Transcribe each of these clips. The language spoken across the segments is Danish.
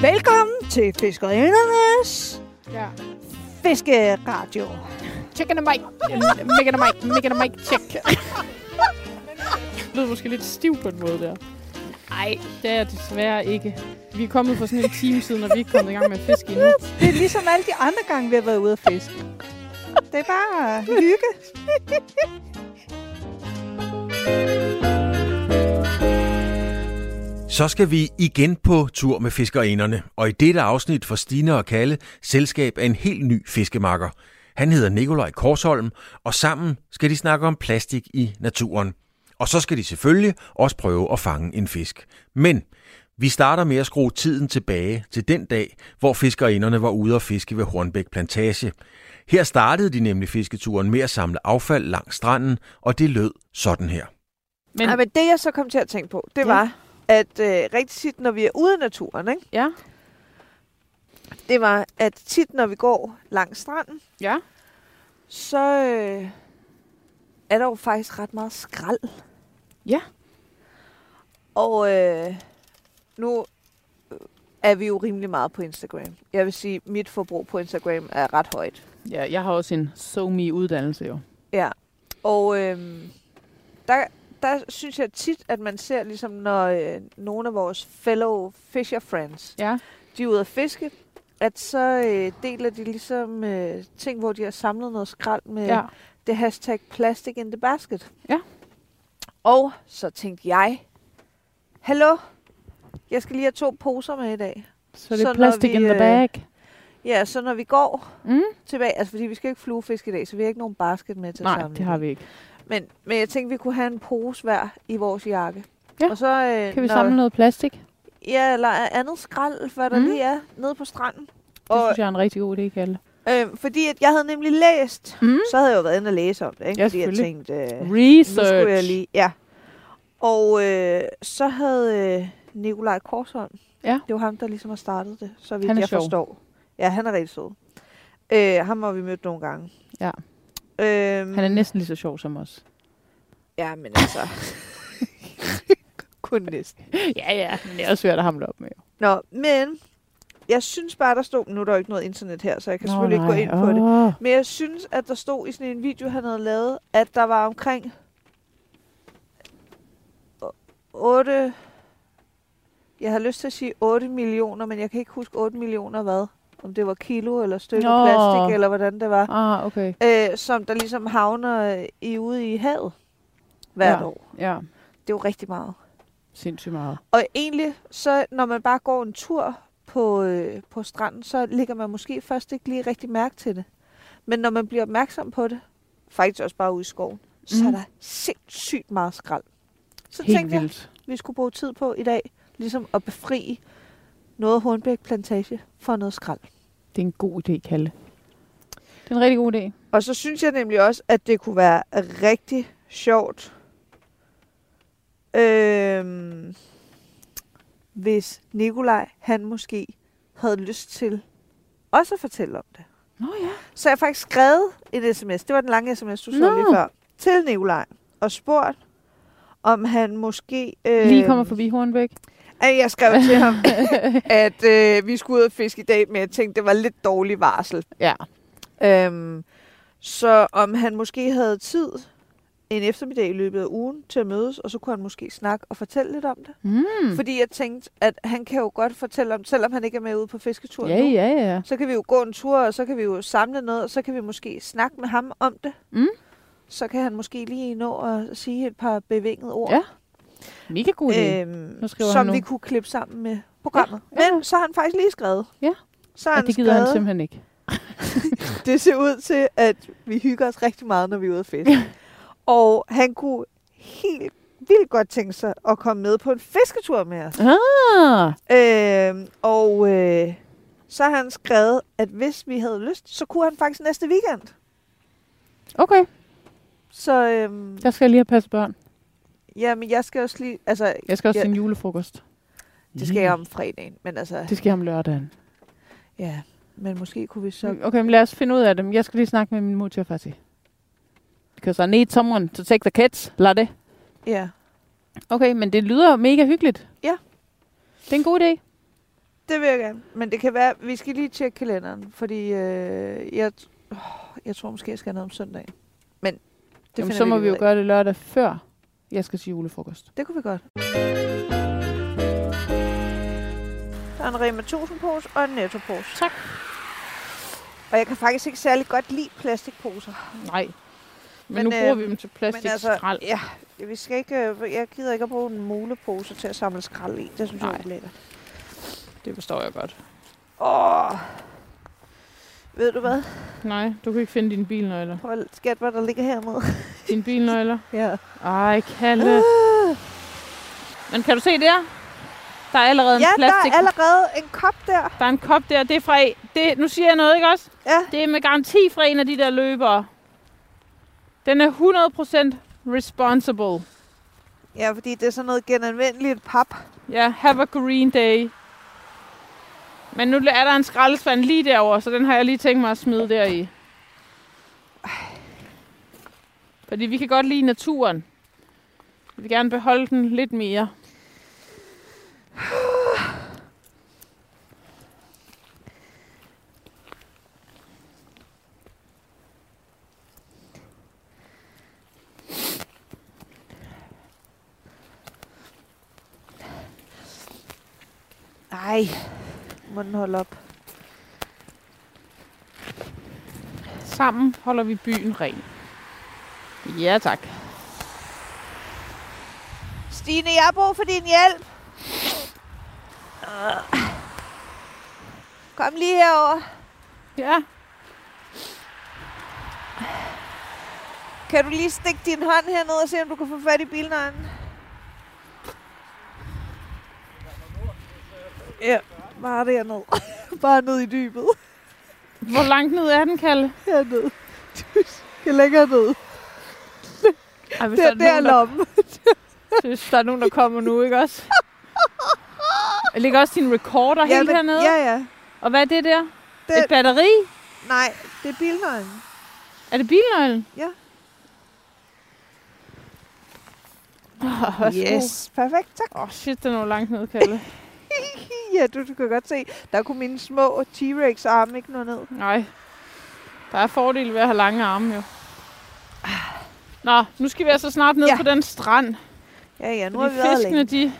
Velkommen til Fiskerindernes Ja. Fiskeradio. Chicken and Mike. Mega and Mike. Mega and Mike. Check. Det lyder måske lidt stiv på en måde der. Nej, det er jeg desværre ikke. Vi er kommet for sådan en time siden, og vi er ikke kommet i gang med at fiske endnu. Det er ligesom alle de andre gange, vi har været ude at fiske. Det er bare hygge. Så skal vi igen på tur med fiskerinderne, og i dette afsnit for Stine og Kalle, selskab af en helt ny fiskemakker. Han hedder Nikolaj Korsholm, og sammen skal de snakke om plastik i naturen. Og så skal de selvfølgelig også prøve at fange en fisk. Men vi starter med at skrue tiden tilbage til den dag, hvor fiskerinderne var ude at fiske ved Hornbæk Plantage. Her startede de nemlig fisketuren med at samle affald langs stranden, og det lød sådan her. Men, Men... Nej, men det jeg så kom til at tænke på, det Ja. ja. var, at øh, rigtig tit, når vi er ude i naturen, ikke? ja, det var, at tit, når vi går langs stranden, ja. så øh, er der jo faktisk ret meget skrald. Ja. Og øh, nu øh, er vi jo rimelig meget på Instagram. Jeg vil sige, at mit forbrug på Instagram er ret højt. Ja, jeg har også en somi uddannelse jo. Ja. Og øh, der, der synes jeg tit, at man ser, ligesom når øh, nogle af vores fellow fisher friends, Ja. de er ude at fiske, at så øh, deler de ligesom øh, ting, hvor de har samlet noget skrald med Ja. ja. det hashtag plastic in the basket. Ja. Og så tænkte jeg, hallo, jeg skal lige have to poser med i dag. Så det Så er når plastic vi, in the øh, bag. Ja, så når vi går Mm? tilbage, altså fordi vi skal jo ikke fluefiske i dag, så vi har ikke nogen basket med til Nej, sammen. det har vi ikke. Men, men jeg tænkte, vi kunne have en pose hver i vores jakke. Ja. Og så, øh, Kan vi når- samle noget plastik? Det Ja, eller andet skrald, hvad der Mm. mm. lige er, nede på stranden. synes jeg er en rigtig god idé, Kalle. Øh, fordi at jeg havde nemlig læst, Mm? så havde jeg jo været inde og læse om det, ikke? Ja, fordi jeg selvfølgelig. tænkte, øh, nu Research. skulle jeg lige, ja. Og øh, så havde øh, Nikolaj Korsholm, Ja. det var ham, der ligesom har startet det, så vidt Han er jeg sjov. forstår. Ja, han er rigtig sød. Øh, ham har vi mødt nogle gange. Ja. Øhm, Han er næsten lige så sjov som os. Ja, men altså... Kun næsten. Ja, ja. Men det er også svært at hamle op med. Nå, men jeg synes bare, der stod... Nu er der jo ikke noget internet her, så jeg kan Nå, selvfølgelig nej. ikke gå ind på det. Åh. Men jeg synes, at der stod i sådan en video, han havde lavet, at der var omkring 8... Jeg har lyst til at sige 8 millioner, men jeg kan ikke huske 8 millioner hvad. Om det var kilo eller stykke Nå. plastik, eller hvordan det var. Ah, okay. Øh, som der ligesom havner øh, i ude i havet hvert Ja. ja. år. Ja, Det er jo rigtig meget. sindssygt meget. Og egentlig, så når man bare går en tur på, øh, på stranden, så lægger man måske først ikke lige rigtig mærke til det. Men når man bliver opmærksom på det, faktisk også bare ude i skoven, mm. så er Mhm. der sindssygt meget skrald. Så Helt tænkte vildt. jeg, vi skulle bruge tid på i dag, ligesom at befri noget af Hornbæk Plantage for noget skrald. Det er en god idé, Kalle. Det er en rigtig god idé. Og så synes jeg nemlig også, at det kunne være rigtig sjovt, øhm, hvis Nikolaj, han måske havde lyst til også at fortælle om det. Nå ja. Så jeg har faktisk skrevet en sms, det var den lange sms, du så Nå. lige før, til Nikolaj og spurgt, om han måske... Øh, Lige kommer forbi Hornbæk. at jeg skrev til ham, at øh, vi skulle ud og fiske i dag, men jeg tænkte, det var lidt dårlig varsel. Ja. Øhm, så om han måske havde tid en eftermiddag i løbet af ugen til at mødes, og så kunne han måske snakke og fortælle lidt om det. Mm. Mm. Fordi jeg tænkte, at han kan jo godt fortælle om, selvom han ikke er med ude på fisketur Ja, nu, ja, ja. så kan vi jo gå en tur, og så kan vi jo samle noget, og så kan vi måske snakke med ham om det. Mm. Så kan han måske lige nå at sige et par bevingede ord Ja, Mega god idé. Øh, øhm, Nu skriver han som nu. vi kunne klippe sammen med programmet. Ja, Ja, ja. ja. Men så har han faktisk lige skrevet. Ja, Så har han det gider han skrevet, simpelthen ikke. det ser ud til, at vi hygger os rigtig meget, når vi er ude at fiske. og han kunne helt vildt godt tænke sig at komme med på en fisketur med os. Ah, Øhm, og øh, så har han skrevet, at hvis vi havde lyst, så kunne han faktisk næste weekend. okay, Så øhm, jeg skal lige have passet børn. jamen, jeg skal også lige... Altså, Jeg skal også Ja. til en julefrokost. det skal jeg om fredagen, men altså... Det skal jeg om lørdagen. Ja, men måske kunne vi så... Okay, men lad os finde ud af det. Men Jeg skal lige snakke med min mor til at faktisk. Because I need someone to take the kids. Lad det. Ja, Okay, men det lyder mega hyggeligt. Ja. Det er en god idé. det Det vil jeg gerne. Men det kan være, vi skal lige tjekke kalenderen, fordi øh, jeg, åh, jeg tror måske, jeg skal noget om søndag. Men det Jamen, finder så må lige vi ud jo af. gøre det lørdag før jeg skal til julefrokost. Det kunne vi godt. Der er en Rema 1000 pose og en Netto pose. Tak. Og jeg kan faktisk ikke særlig godt lide plastikposer. Nej. Men, Men, men altså, nu bruger øh, vi dem til plastik skrald. ja, vi skal ikke, øh, jeg gider ikke at bruge en mulepose til at samle skrald i. Det synes Nej. Nej. jeg er lækkert. Det forstår jeg godt. Åh. Ved du hvad? Nej, du kan ikke finde dine bilnøgler. Prøv at skat, hvad der ligger hernede. Dine bilnøgler? ja. Ej, Kalle. Ah! Men kan du se der? Der er allerede en ja, plastik. der er allerede en kop der. der er en kop der. Det er fra... en- Det, nu siger jeg noget, ikke også? Ja. Det er med garanti fra en af de der løbere. Den er 100% responsible. ja, fordi det er sådan noget genanvendeligt pap. Ja, have a green day. Men nu er der en skraldespand lige derovre, så den har jeg lige tænkt mig at smide deri. Fordi vi kan godt lide naturen. Vi vil gerne beholde den lidt mere. Nej, må den holde op. Sammen holder vi byen ren. Ja tak. Stine, jeg har brug for din hjælp. Ah. Kom lige herover. Ja, Kan du lige stikke din hånd herned og se, om du kan få fat i bilnøglen? Ja, bare derned. bare ned i dybet. hvor langt ned er den, Kalle? Herned. Du skal længere ned. Ej, hvis Det er der nogen, der, lommen. hvis der er nogen, der kommer nu, ikke også? Jeg ligger også din recorder ja, helt men- hernede. ja, ja. Og hvad er det der? Det, Et batteri? nej, det er bilnøglen. Er det bilnøglen? Ja. Åh, oh, perfekt. Tak. Åh, oh, shit, den er jo langt ned, Kalle. Ja, du, du kan godt se, der kunne mine små T-Rex arme ikke nå ned. Nej. Der er fordele ved at have lange arme, jo. Nå, nu skal vi altså snart ned ja. Ja. på den strand. Ja, ja, nu har Fordi vi været fiskene, længe. de...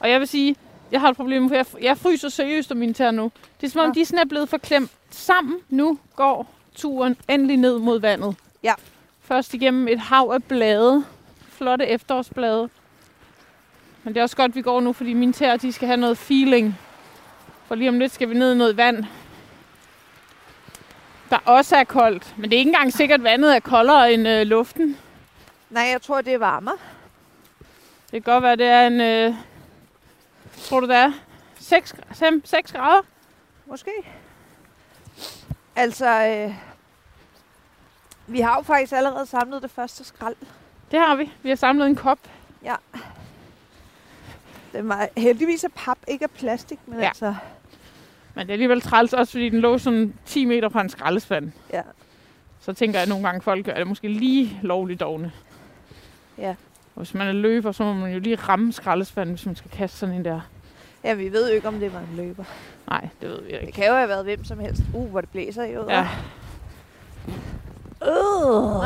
Og jeg vil sige, jeg har et problem, for jeg, jeg fryser seriøst om mine tæer nu. Det er som om, Nå. de sådan er blevet forklemt sammen. Nu går turen endelig ned mod vandet. Ja. Først igennem et hav af blade. Flotte efterårsblade. Men det er også godt, vi går nu, fordi mine tæer, de skal have noget feeling. For lige om lidt skal vi ned i noget vand. Der også er koldt. Men det er ikke engang sikkert, at vandet er koldere end øh, luften. Nej, jeg tror, det er varmere. Det kan godt være, det er en... Øh, tror du, det er 6, 5, 6 grader? Måske. Altså, øh, vi har jo faktisk allerede samlet det første skrald. Det har vi. Vi har samlet en kop. Den var heldigvis af pap, ikke af plastik, men Ja. ja. altså... Men det er alligevel træls, også fordi den lå sådan 10 meter fra en skraldespand. Ja. Så tænker jeg at nogle gange, at folk gør det måske lige lovligt dogne. Ja. Og hvis man er løber, så må man jo lige ramme skraldespanden, hvis man skal kaste sådan en der. Ja, vi ved jo ikke, om det var en løber. Nej, det ved vi Det ikke. kan jo have været hvem som helst. Uh, hvor det blæser i øvrigt. Ja, Øh. Nå.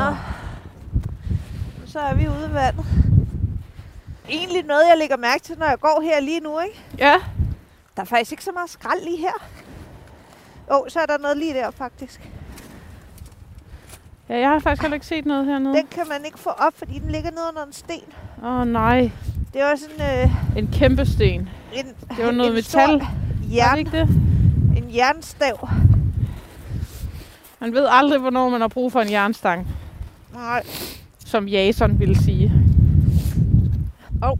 Så er vi ude i vandet. Egentlig noget, jeg lægger mærke til, når jeg går her lige nu, ikke? ja. Der er faktisk ikke så meget skrald lige her. Åh, oh, så er der noget lige der, faktisk. Mm. ja jeg har faktisk heller ikke set noget hernede. Den kan man ikke få op, fordi den ligger nede under en sten. Åh oh, nej, Det er også en... Øh, en kæmpe sten. en Det var noget en metal. Stor Var det jern, ikke det? en jernstav. Man ved aldrig, hvornår man har brug for en jernstang. Nej, som Jason ville sige. Oh.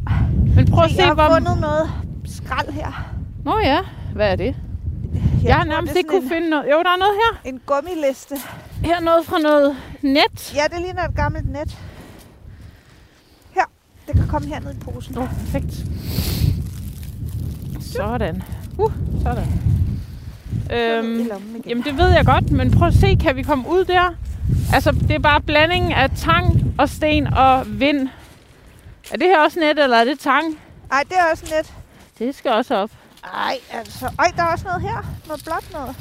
Men prøv at jeg se, har hvor... fundet noget skrald her. Nå ja, hvad er det? Jeg, jeg har nærmest ikke kunne en, finde noget. Jo, der er noget her. en gummiliste. Her er noget fra noget net. Ja, det ligner et gammelt net. Her. Det kan komme herned i posen. Åh, oh, perfekt. Sådan. Uh, sådan. Øhm, jamen, det ved jeg godt, men prøv at se, kan vi komme ud der? Altså, det er bare blandingen af tang og sten og vind. Er det her også net, eller er det tang? Nej, det er også net. Det skal også op. Ej, altså. Ej, der er også noget her. Noget blåt noget.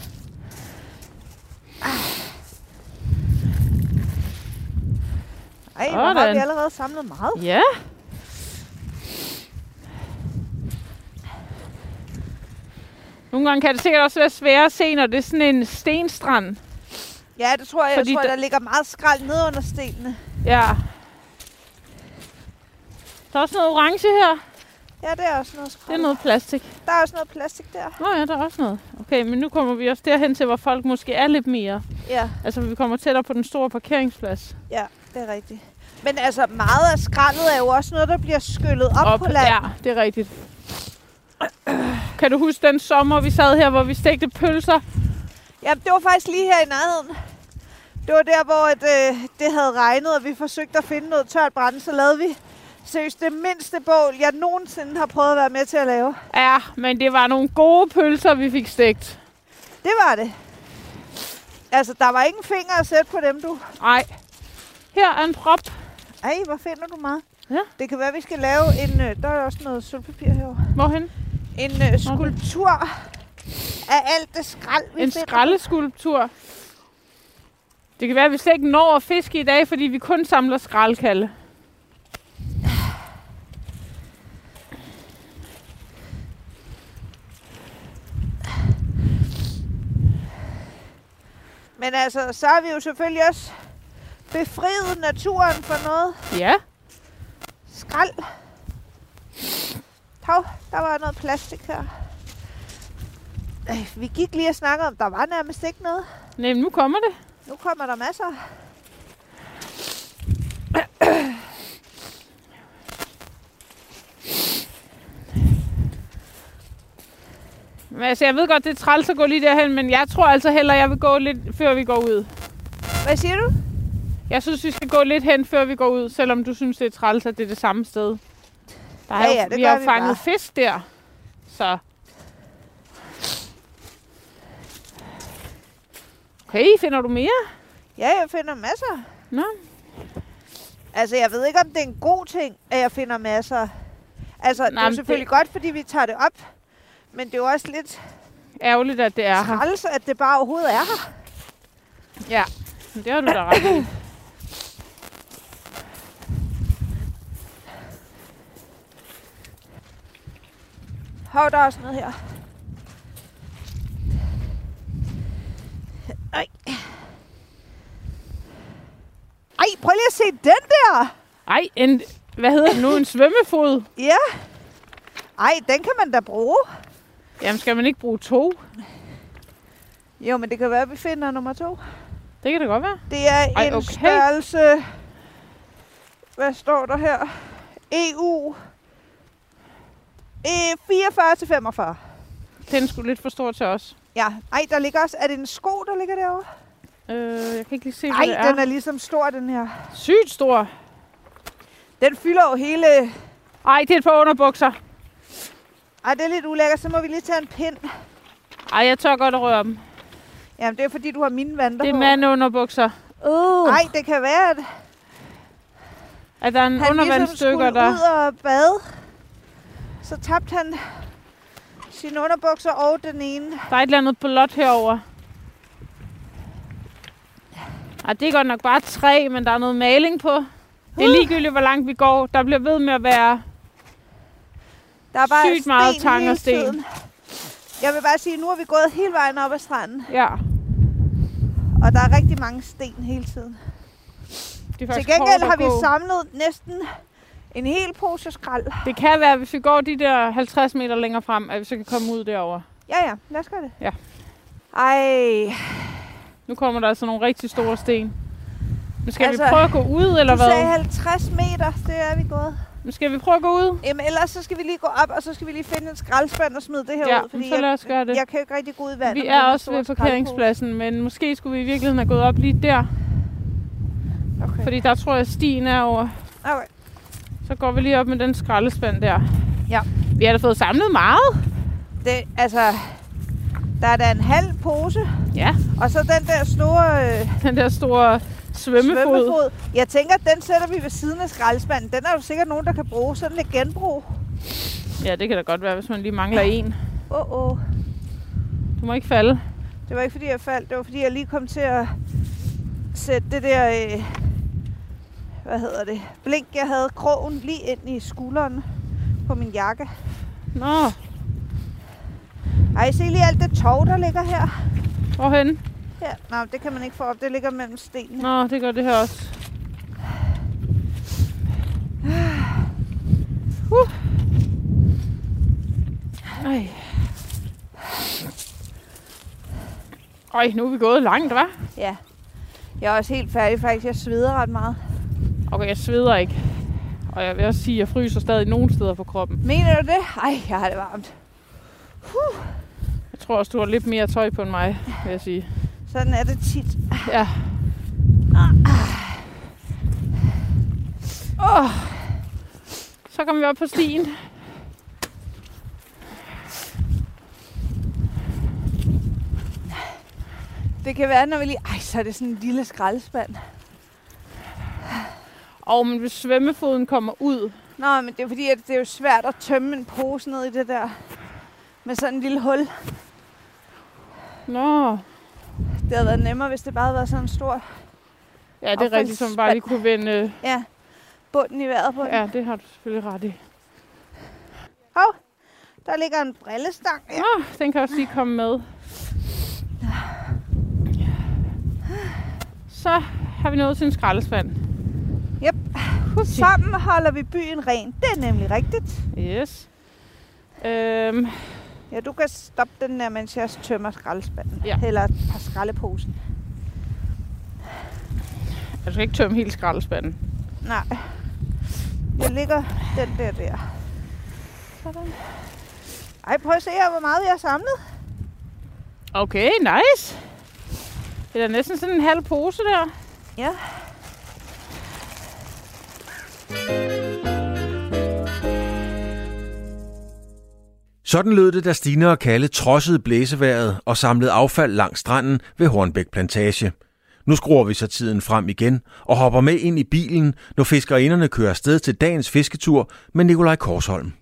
Ah. Ej, nu har vi Sådan. allerede samlet meget. Ja. Nogle gange kan det sikkert også være svært at se, når det er sådan en stenstrand. Ja, det tror jeg. Fordi jeg tror, der- der... der ligger meget skrald ned under stenene. Ja. Der er også noget orange her. Ja, det er også noget Det skrald. er noget plastik. Der er også noget plastik der. Nå ja, der er også noget. Okay, men nu kommer vi også derhen til, hvor folk måske er lidt mere. Ja, Altså, vi kommer tættere på den store parkeringsplads. ja, det er rigtigt. Men altså, meget af skraldet er jo også noget, der bliver skyllet op, op på land. ja, det er rigtigt. Kan du huske den sommer, vi sad her, hvor vi stegte pølser? Ja, det var faktisk lige her i nærheden. Det var der, hvor at, øh, det havde regnet, og vi forsøgte at finde noget tørt brænde, så lavede vi seriøst det mindste bål, jeg nogensinde har prøvet at være med til at lave. Ja, men det var nogle gode pølser, vi fik stegt. Det var det. Altså, der var ingen fingre at sætte på dem, du. Nej. Her er en prop. Ej, hvor finder du meget? Ja. Det kan være, vi skal lave en... Øh, der er også noget sølvpapir herovre. Hvorhen? En øh, skulptur af alt det skrald, vi En finder. skraldeskulptur. Det kan være, at vi slet ikke når at fiske i dag, fordi vi kun samler skraldkalde. Men altså, så har vi jo selvfølgelig også befriet naturen for noget Ja. skrald. Hov, der var noget plastik her. Øh, Vi gik lige og snakkede om, der var nærmest ikke noget. Nej, men nu kommer det. Nu kommer der masser. Men altså, jeg ved godt, det er træls at gå lige derhen, men jeg tror altså heller, jeg vil gå lidt, før vi går ud. Hvad siger du? Jeg synes, vi skal gå lidt hen, før vi går ud, selvom du synes, det er træls, at det er det samme sted. Der er Ja, jo- ja, det vi gør har vi fanget bare. fisk der. Så. Okay, finder du mere? Ja, jeg finder masser. Nå. Altså, jeg ved ikke, om det er en god ting, at jeg finder masser. Altså, Nej, det er men jo selvfølgelig det- det... godt, fordi vi tager det op. Men det er jo også lidt Ærgerligt, at det er her. træls, at det bare overhovedet er her. Ja, men det har du da ret i. Hov, der er også noget her. Ej. Ej, prøv lige at se den der. Ej, en, hvad hedder det nu? En svømmefod? Ja. Ej, den kan man da bruge. Jamen, skal man ikke bruge to? Jo, men det kan være, at vi finder nummer to. Det kan det godt være. Det er Ej, Ej, en okay. okay. størrelse... Hvad står der her? EU... E 44-45. Den skulle lidt for stor til os. Ja. Ej, der ligger også... Er det en sko, der ligger derovre? Øh, jeg kan ikke lige se, hvad Ej, det den er ligesom stor, den her. Sygt stor. Den fylder jo hele... Ej, det er et par underbukser. Ej, det er lidt ulækkert. Så må vi lige tage en pind. Ej, jeg tør godt at røre dem. Jamen, det er fordi, du har mine vandter Det er på. mandeunderbukser. Uh. Nej, det kan være, at At der er en han ligesom undervandsstykker, skulle der... ud og bade. Så tabte han sine underbukser og den ene. Der er et eller andet blåt herover. Ej, det er godt nok bare træ, men der er noget maling på. Det er ligegyldigt, hvor langt vi går. Der bliver ved med at være... Der er bare Sygt meget sten tang hele og sten. tiden. Jeg vil bare sige, at nu er vi gået hele vejen op ad stranden, Ja, og der er rigtig mange sten hele tiden. det er Til faktisk gengæld hårdt at har vi gå. samlet næsten en hel pose skrald. Det kan være, hvis vi går de der 50 meter længere frem, at vi så kan komme ud derover. Ja, ja, lad os gøre det. Ja. Ej, Nu kommer der altså nogle rigtig store sten. Men skal altså, vi Altså, prøve at gå ud, eller du sagde hvad? 50 meter, det er vi gået. Men skal vi prøve at gå ud? Jamen, ellers så skal vi lige gå op, og så skal vi lige finde en skraldspand og smide det her Ja, ud. men så lad os gøre det. jeg, jeg kan jo ikke rigtig gå ud i vandet. Vi med er den også store ved skraldpose. parkeringspladsen, men måske skulle vi i virkeligheden have gået op lige der. Okay. Fordi der tror jeg, stien er over. okay. Så går vi lige op med den skraldespand der. Ja. Vi har da fået samlet meget. Det, altså, der er da en halv pose, Ja. og så den der store... Øh, Den der store svømmefod. svømmefod. Jeg tænker, at den sætter vi ved siden af skraldespanden. Den er jo sikkert nogen, der kan bruge sådan lidt genbrug. Ja, det kan da godt være, hvis man lige mangler en. Åh, oh, oh. Du må ikke falde. Det var ikke, fordi jeg faldt. Det var, fordi jeg lige kom til at sætte det der... Øh, hvad hedder det? Blink, jeg havde krogen lige ind i skulderen på min jakke. Nå, Ej, se lige alt det tov, der ligger her. hvorhen? her. Nå, det kan man ikke få op. Det ligger mellem stenene. Nå, det gør det her også. Uh. Ej. Ej, nu er vi gået langt, hva'? Ja. Jeg er også helt færdig faktisk. Jeg sveder ret meget. Okay, jeg sveder ikke. Og jeg vil også sige, at jeg fryser stadig nogle steder på kroppen. Mener du det? Ej, jeg har det varmt. Jeg tror også, du har lidt mere tøj på end mig, vil jeg sige. Sådan er det tit. Ja. Åh. Oh. Så kom vi op på stien. Det kan være, når vi lige... Ej, så er det sådan en lille skraldespand. Og men hvis svømmefoden kommer ud, Nå, men det er fordi, at det er jo svært at tømme en pose ned i det der med sådan en lille hul. Nå, Det havde været nemmere, hvis det bare havde været sådan en stor ja, det er rigtigt, som bare lige kunne vende. øh, ja, bunden i vejret på. Ja. Ja, det har du selvfølgelig ret i. Hov, der ligger en brillestang. Ja. Nå, den kan også lige komme med. Så har vi nået til en skraldespand. Sammen holder vi byen ren. Det er nemlig rigtigt. Yes. Øhm, Ja, du kan stoppe den der, mens jeg tømmer skraldespanden. Ja. Eller et par skraldeposen. jeg skal ikke tømme hele skraldespanden. Nej. Jeg ligger den der der. Sådan. Ej, prøv at se her, hvor meget jeg har samlet. Okay, nice. Det er da næsten sådan en halv pose der. Ja. Sådan lød det, da Stine og Kalle trodsede blæseværet og samlede affald langs stranden ved Hornbæk Plantage. Nu skruer vi så tiden frem igen og hopper med ind i bilen, når fiskerinderne kører afsted til dagens fisketur med Nikolaj Korsholm.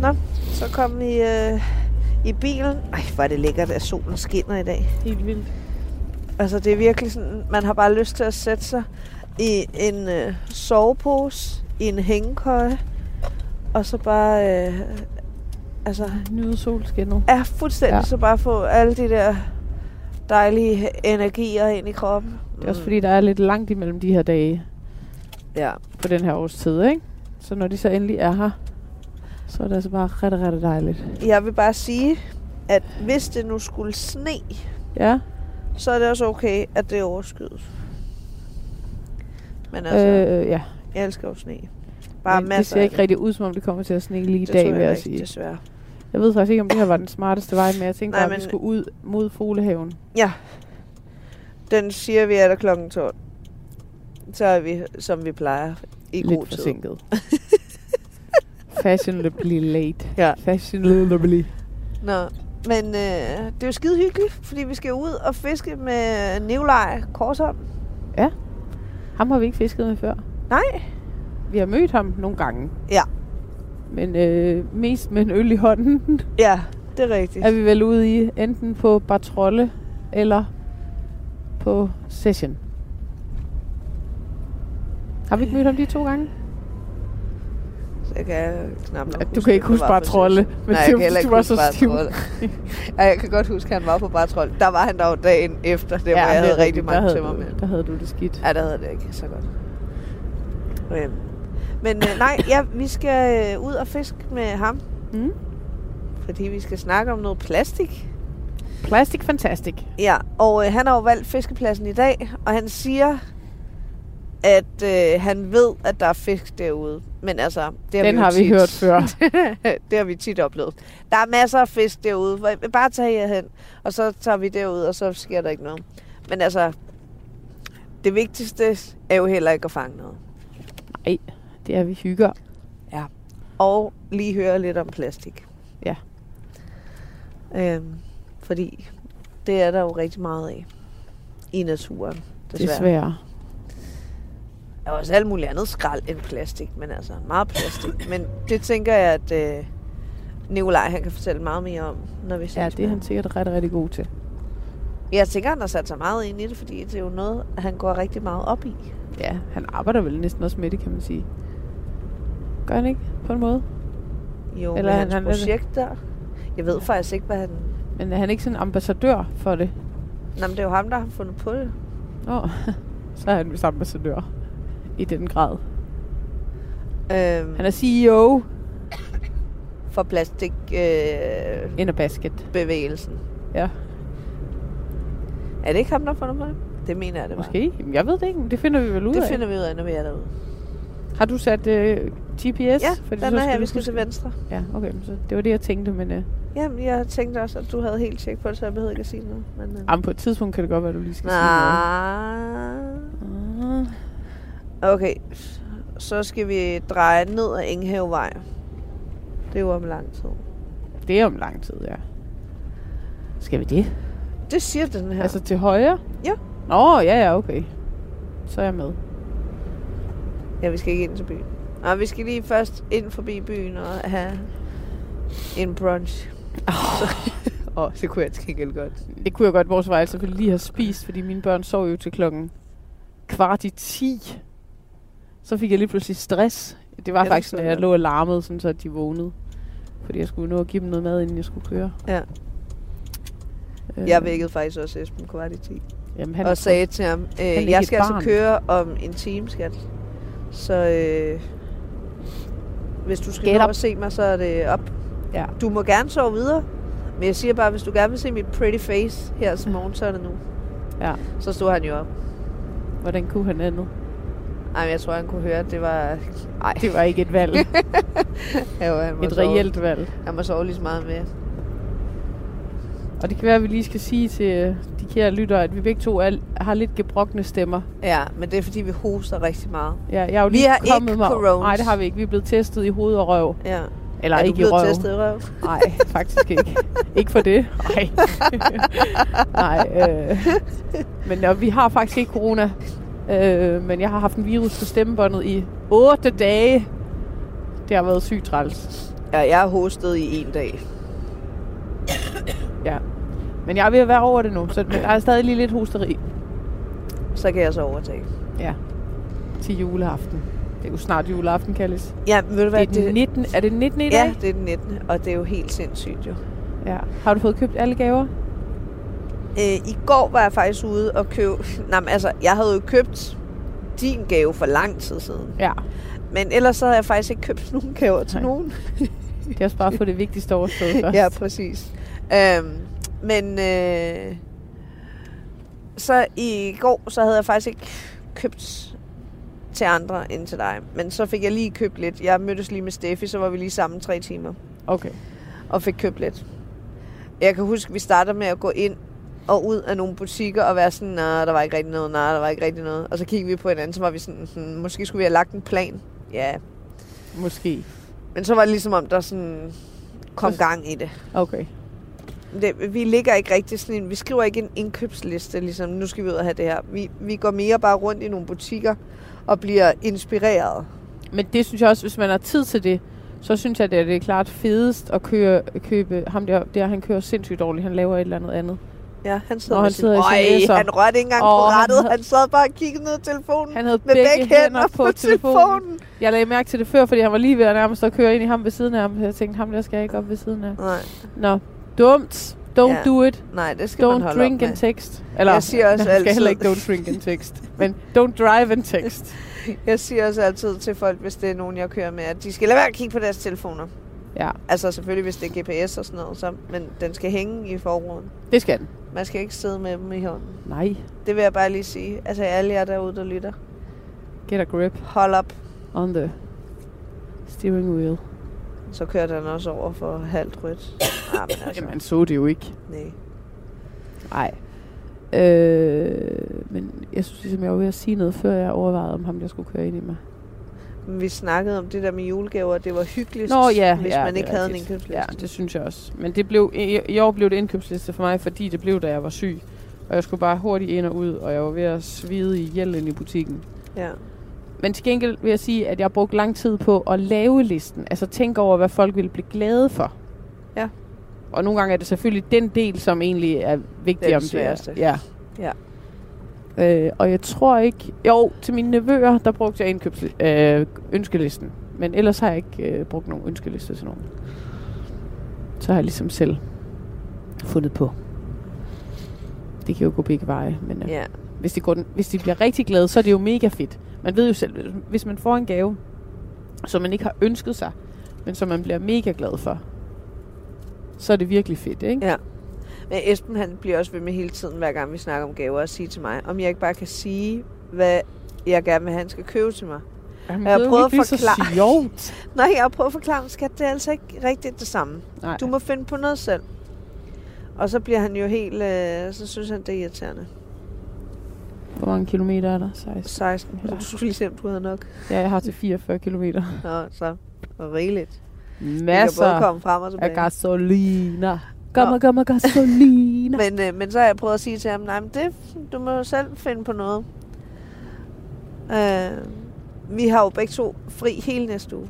Nå, så kom vi øh, i bilen. Ej, hvor er det lækkert, at solen skinner i dag. Helt vildt. Altså, det er virkelig sådan, man har bare lyst til at sætte sig i en øh, sovepose, i en hængekøje, og så bare, øh, altså, Nyde solskinnet. er fuldstændig Ja. ja. så bare få alle de der dejlige energier ind i kroppen. Det er også fordi, der er lidt langt imellem de her dage Ja, på den her års tid, ikke? Så når de så endelig er her, så er det altså bare ret, ret dejligt. jeg vil bare sige, at hvis det nu skulle sne, Ja, så er det også okay, at det er overskyet. Men altså... altså, øh, ja. Jeg elsker jo sne. Bare Men det masser ser af ikke rigtig ud, som om det kommer til at sne lige i Det tror dag, vil jeg ikke, sige. Desværre. Jeg ved faktisk ikke, om det her var den smarteste vej, men jeg tænkte Nej, bare, at vi men- skulle ud mod Fuglehaven. Den siger vi er der klokken 12. Så er vi, som vi plejer, i god Lidt tid. forsinket. Fashionably late. Ja. Fashionably. Nå. Men øh, det er jo skide hyggeligt, fordi vi skal ud og fiske med Nikolaj Korsholm. Ham har vi ikke fisket med før. Nej. Vi har mødt ham nogle gange. Ja. Men øh, mest med en øl i hånden Ja, det er rigtigt. er vi vel ude i, enten på Bartrolle eller på Session. Har vi ikke mødt ham de to gange? Jeg kan knap nok Ja, du kan ikke at det huske var bare på trolle, session. men Nej, det jeg var, kan heller fordi ikke du var huske så bare stiv. trolle. ja, jeg kan godt huske, at han var på bare trolle. Der var han dog dagen efter, det ja, hvor jeg det er havde rigtig rigtigt. Der mange havde tømmer med. du- Der havde du det skidt. Ja, der havde det ikke så godt. Øhm. Men øh, nej, ja, vi skal øh, ud og fiske med ham. Mm. Fordi vi skal snakke om noget plastik. Plastic Fantastic. Ja, og øh, han har jo valgt fiskepladsen i dag, og han siger, at øh, han ved, at der er fisk derude. Men altså, det har Den vi, jo har vi tit. hørt før. det har vi tit oplevet. Der er masser af fisk derude. Hvor- Bare tag jer hen, og så tager vi derud, og så sker der ikke noget. Men altså, det vigtigste er jo heller ikke at fange noget. Det er vi hygger. Og lige høre lidt om plastik. Ja. Øhm, fordi det er der jo rigtig meget af i naturen, desværre. Desværre. Der er også alt muligt andet skrald end plastik, men altså meget plastik. Men det tænker jeg, at øh, Nikolaj han kan fortælle meget mere om, når vi ses. Ja, det med er ham. han sikkert rigtig, rigtig god til. Jeg tænker, han har sat sig meget ind i det, fordi det er jo noget, han går rigtig meget op i. Ja, han arbejder vel næsten også med det, kan man sige. Gør han ikke? På en måde. Jo, Eller Eller han- hans han er det. projekter. Jeg ved faktisk ikke, hvad han... Men er han ikke sådan ambassadør for det? Nå, men det er jo ham, der har fundet på det. Nå, så er han vist ambassadør. I den grad. Øhm, Han er E CEO for plastikbevægelsen. Øh, in a basket. bevægelsen. Ja. er det ikke ham, der har fundet på det? Det mener jeg, det var. Måske. Jamen, Jeg ved det ikke, men det finder vi vel ud Det af. finder vi ud af, når vi er derude. Har du sat øh, GPS? Ja, Fordi den så er her. du Vi skal til huske- venstre. Ja, okay. men Så det var det, jeg tænkte, men øh, Jamen, jeg tænkte også, at du havde helt tjek på det, så jeg behøvede ikke at sige noget. Men, øh. jamen, på et tidspunkt kan Ah, det godt være, du lige skal Ah. Nej. sige noget. Ah. Okay, så skal vi dreje ned ad Enghavevej. Det er jo om lang tid. Det er om lang tid, ja. Skal vi det? Det siger den her. Ja. Altså til højre? Ja. Nå, ja, ja, okay. Så er jeg med. Ja, vi skal ikke ind til byen. Nej, vi skal lige først ind forbi byen og have en brunch. Åh, oh, det kunne jeg til gengæld godt. Det kunne jeg godt, vores vej selvfølgelig lige have spist, fordi mine børn sov jo til klokken kvart i 10. Så fik jeg lige pludselig stress. Det var Ja, ja, det faktisk, forstår når jeg jeg lå og larmede, sådan så at de vågnede. Fordi jeg skulle nå at give dem noget mad, inden jeg skulle køre. Ja. Øh, Jeg vækkede faktisk også Esben kvart i 10. Jamen, Han han og sagde til ham, øh, ikke jeg et skal altså barn." køre om en time, skat. Så øh, hvis du skal Get nå up. at se mig, så er det op. Ja. Du må gerne sove videre. Men jeg siger bare, hvis du gerne vil se mit pretty face her til morgen, så er det nu. Ja. Så stod han jo op. Hvordan kunne han andet? Ej, men jeg tror, han kunne høre, at det var... Ej, Det var ikke et valg. Ja, jo, han må et sove- reelt valg. Han må sove lige så meget med. Og det kan være, at vi lige skal sige til øh, de kære lyttere, at vi begge to er, har lidt gebrokne stemmer. Ja, men det er fordi, vi hoster rigtig meget. Ja, jeg er jo Vi lige har ikke kommet mig. coronas. Nej, det har vi ikke. Vi er blevet testet i hoved og røv. Ja. Eller er du ikke i blevet røv. testet i røv? Nej, faktisk ikke. ikke for det. Nej. Nej øh. Men øh, vi har faktisk ikke corona. Øh, men jeg har haft en virus på stemmebåndet i 8 dage. Det har været sygt træls. Ja, jeg har hostet i en dag. Men jeg er ved at være over det nu, så men der er stadig lige lidt hosteri Så kan jeg så overtage. til juleaften. Det er jo snart juleaften, kaldes. Ja, ved du Det er, hvad? den 19, er det den 19 i dag? ja, det er den 19. Og det er jo helt sindssygt jo. ja. Har du fået købt alle gaver? Øh, I går var jeg faktisk ude og købe... Nej, men altså, jeg havde jo købt din gave for lang tid siden. Ja. Men ellers så havde jeg faktisk ikke købt nogen gaver til Nej. nogen. Det er også bare at få det vigtigste overstået først. Ja, præcis. Øhm, men øh, så i går, så havde jeg faktisk ikke købt til andre end til dig. Men så fik jeg lige købt lidt. Jeg mødtes lige med Steffi, så var vi lige sammen tre timer Okay. og fik købt lidt. Jeg kan huske, vi starter med at gå ind og ud af nogle butikker og være sådan, nej, der var ikke rigtig noget, nej, der var ikke rigtig noget. Og så kiggede vi på hinanden, så var vi sådan, hmm, måske skulle vi have lagt en plan. Ja, Måske. men så var det ligesom om, der sådan kom Så- gang i det. Okay. det, vi ligger ikke rigtig sådan en, vi skriver ikke en indkøbsliste, ligesom nu skal vi ud og have det her. Vi, vi går mere bare rundt i nogle butikker og bliver inspireret. Men det synes jeg også, hvis man har tid til det, så synes jeg, det er det er klart fedest at køre, købe ham der, der, han kører sindssygt dårligt. Han laver et eller andet andet. Ja, han sidder Nå, med han sin- sidder i sin Øj, læser. han rørte ikke engang Åh, på han rettet. havde- Han sad bare og kiggede ned i telefonen Han havde med begge, hænder på telefonen. Jeg lagde mærke til det før, fordi han var lige ved at nærmest at køre ind i ham ved siden af ham. Så jeg tænkte, ham der skal jeg ikke op ved siden af. Nej, Nå, dumt. Don't Ja, do it. nej, det skal man Don't holde drink op and med. text. Eller, Jeg siger også man skal heller ikke altid- don't drink and text. Men don't drive and text. Jeg siger også altid til folk, hvis det er nogen, jeg kører med, at de skal lade være at kigge på deres telefoner. Ja. Altså selvfølgelig, hvis det er GPS og sådan noget, så, men den skal hænge i forruden. Det skal den. Man skal ikke sidde med dem i hånden. Nej. Det vil jeg bare lige sige. Altså alle jer derude, der lytter. Get a grip Hold op. on the steering wheel. Så kørte han også over for halvt rødt. Ah, men altså, Jamen, han så det jo ikke. nej. Nej. Øh, men jeg synes ligesom, jeg var ved at sige noget, før jeg overvejede, om ham der skulle køre ind i mig. Men vi snakkede om det der med julegaver, det var hyggeligst, Nå ja, hvis ja, man det er ikke havde en rigtigt. indkøbsliste. Ja, det synes jeg også. Men det blev, i, i år blev det indkøbsliste for mig, fordi det blev, da jeg var syg. Og jeg skulle bare hurtigt ind og ud, og jeg var ved at svide ihjel ind i butikken. ja. Men til gengæld vil jeg sige, at jeg har brugt lang tid på at lave listen. Altså tænke over, hvad folk ville blive glade for. Ja. Og nogle gange er det selvfølgelig den del, som egentlig er vigtig Den om det. sværeste. er- Ja. Øh, og jeg tror ikke... Jo, til mine nevøer, der brugte jeg indkøbs, øh, ønskelisten. Men ellers har jeg ikke øh, brugt nogen ønskeliste til nogen. Så har jeg ligesom selv fundet på. Det kan jo gå begge veje, men øh, Ja. hvis, de går den, hvis de bliver rigtig glade, så er det jo mega fedt. Man ved jo selv, hvis man får en gave, som man ikke har ønsket sig, men som man bliver mega glad for, så er det virkelig fedt, ikke? Ja. Men Esben han bliver også ved med hele tiden, hver gang vi snakker om gaver, og sige til mig, om jeg ikke bare kan sige, hvad jeg gerne vil, han skal købe til mig. Jamen, Jeg det er jo prøvede at virkelig så forklare- sjovt. Nej, jeg har prøvet at forklare ham, skat, det er altså ikke rigtigt det samme. Nej. Du må finde på noget selv. Og så bliver han jo helt, øh, så synes han, det er irriterende. Hvor mange kilometer er der? 16. 16. Ja. Du skulle lige se, om du havde nok. Ja, jeg har til 44 kilometer. Nå, så og rigeligt. Vi kan både Masser komme frem og tilbage. af gasoliner. Kom og kom og gasoliner. Men, øh, men så har jeg prøvet at sige til ham, nej, men det, du må jo selv finde på noget. Øh, vi har jo begge to fri hele næste uge.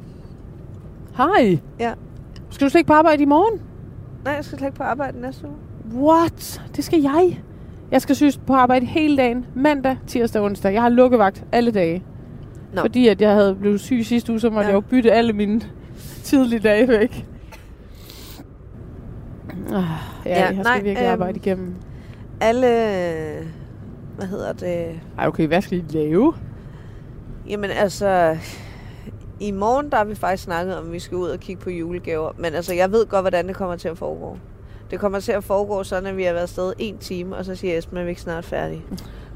Hej. Ja. Skal du slet ikke på arbejde i morgen? Nej, jeg skal slet ikke på arbejde næste uge. What? Det skal jeg. Jeg skal synes på arbejde hele dagen. Mandag, tirsdag og onsdag. Jeg har lukkevagt alle dage. Nå. Fordi at jeg havde blevet syg sidste uge, så måtte Ja. ja. jeg jo bytte alle mine tidlige dage væk. Ah, ja, ja, Ja, jeg skal nej, nej, virkelig øhm. arbejde igennem. Alle, øh, hvad hedder det? Ej, okay, hvad skal I lave? Jamen altså, i morgen der har vi faktisk snakket om, at vi skal ud og kigge på julegaver. Men altså, jeg ved godt, hvordan det kommer til at foregå. Det kommer til at foregå sådan, at vi har været afsted en time, og så siger Esben, at vi ikke snart er færdige.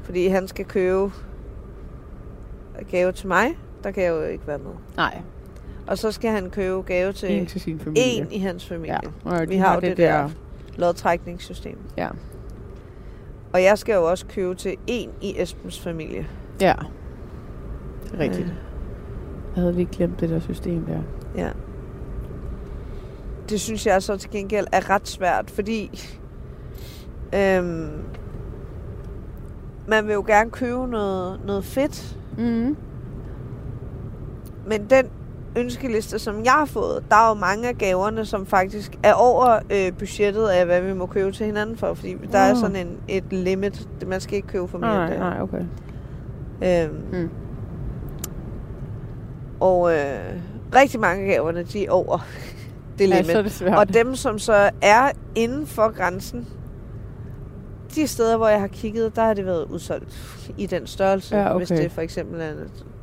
Fordi han skal købe gave til mig. Der kan jeg jo ikke være med. Nej, Og så skal han købe gave til en Øh, en, til sin familie. i hans familie. Ja, Ja. og de Vi har jo det der Lodtrækningssystem. Ja. Og jeg skal jo også købe til en i Esbens familie. Ja. Det er rigtigt. Øh. Jeg havde lige glemt det der system der. Det synes jeg så til gengæld er ret svært, fordi øhm, man vil jo gerne købe noget, noget fedt, Mm. men den ønskeliste, som jeg har fået, der er jo mange af gaverne, som faktisk er over øh, budgettet af, hvad vi må købe til hinanden for, fordi der er Nå. sådan en, et limit. Man skal ikke købe for mere end Nej, det. nej, okay. Øhm, Mm. mm. Og øh, rigtig mange af gaverne, de er over det Ja, limit. så er det svært. og dem, som så er inden for grænsen, de steder, hvor jeg har kigget, der har det været udsolgt i den størrelse. Ja, Hvis okay. det for eksempel er en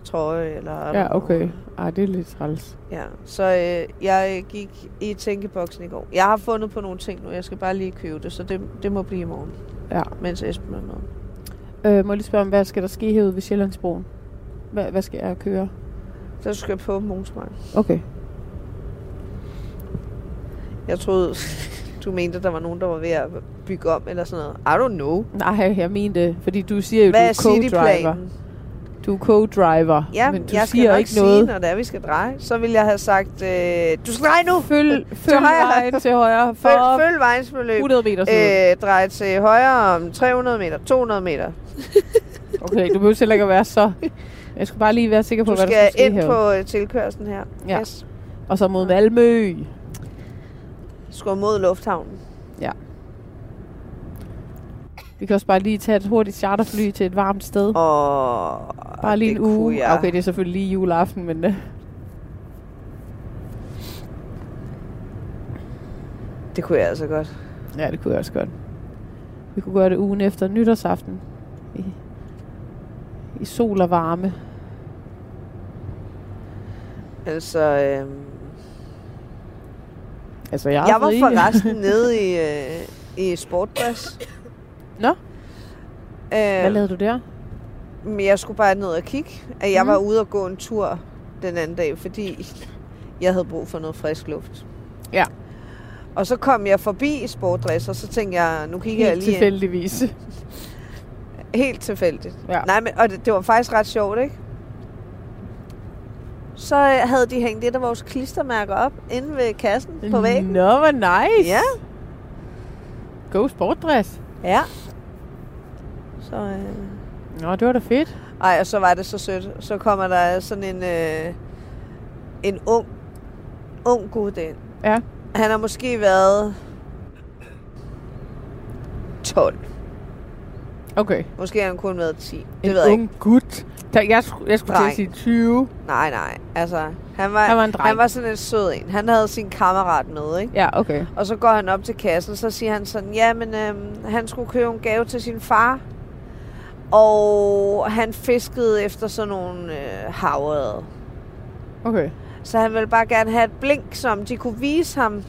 trøje eller... Ja, okay. Ej, det er lidt træls. Ja, så øh, jeg gik i tænkeboksen i går. Jeg har fundet på nogle ting nu. Jeg skal bare lige købe det, så det, det må blive i morgen, Ja. mens Esben er med. Øh, må jeg lige spørge om, hvad skal der ske herude ved Sjællandsbroen? Hvad, hvad skal jeg køre? Så skal jeg på Monsmark. Okay. Jeg troede, du mente, at der var nogen, der var ved at bygge om eller sådan noget. I don't know. Nej, jeg mente, fordi du siger jo, Hvad er du er co-driver. cityplanen? Du er co-driver, Ja, men du jeg skal siger nok ikke sige, noget. når det er, vi skal dreje. Så vil jeg have sagt, øh, du skal dreje nu! Følg, følg højre. vejen til højre for Følg, følg vejens forløb. 100 meter siden. Øh, drej til højre om 300 meter, 200 meter. Okay, du behøver selv ikke at være så... Jeg skulle bare lige være sikker på, Du hvad der skal skulle ske ind herude. på øh, tilkørslen her. Ja. Yes. Og så mod Malmø. Du skal mod lufthavnen. Vi kan også bare lige tage et hurtigt charterfly til et varmt sted. Og Bare lige det en uge. kunne jeg. Okay, det er selvfølgelig lige juleaften, men... øh, det kunne jeg altså godt. Ja, det kunne jeg også godt. Vi kunne gøre det ugen efter nytårsaften. I, i sol og varme. Altså, øh, Altså, jeg, Jeg var ved ikke- forresten nede i, øh, i Sportbus. Nå. Hvad Øh, lavede du der? men jeg skulle bare ned og kigge. At jeg Mhm. var ude og gå en tur den anden dag, fordi jeg havde brug for noget frisk luft. Ja. Og så kom jeg forbi Sportdress, og så tænkte jeg, nu kigger jeg Helt lige ind. tilfældigvis. Helt tilfældigt. Ja. Nej, men, og det, det var faktisk ret sjovt, ikke? Så øh, havde de hængt et af vores klistermærker op inde ved kassen på væggen. Nå, hvor nice. Ja. God sportdress. Ja. Så, øh, Nå, det var da fedt. Ej, og så var det så sødt. Så kommer der sådan en, øh, en ung, ung gut ind. Ja. Han har måske været 12. Okay. Måske har han kun været 10. Det en ved jeg ung ikke. gut. Der, jeg, sku- jeg skulle til at Dreng. sige 20. Nej, nej. Altså, han var, Han var en dreng. han var sådan en sød en. Han havde sin kammerat med, ikke? Ja, okay. Og så går han op til kassen, så siger han sådan, ja, men øhm, han skulle købe en gave til sin far. Og han fiskede efter sådan nogle øh, havre. Okay. Så han ville bare gerne have et blink, som de kunne vise ham.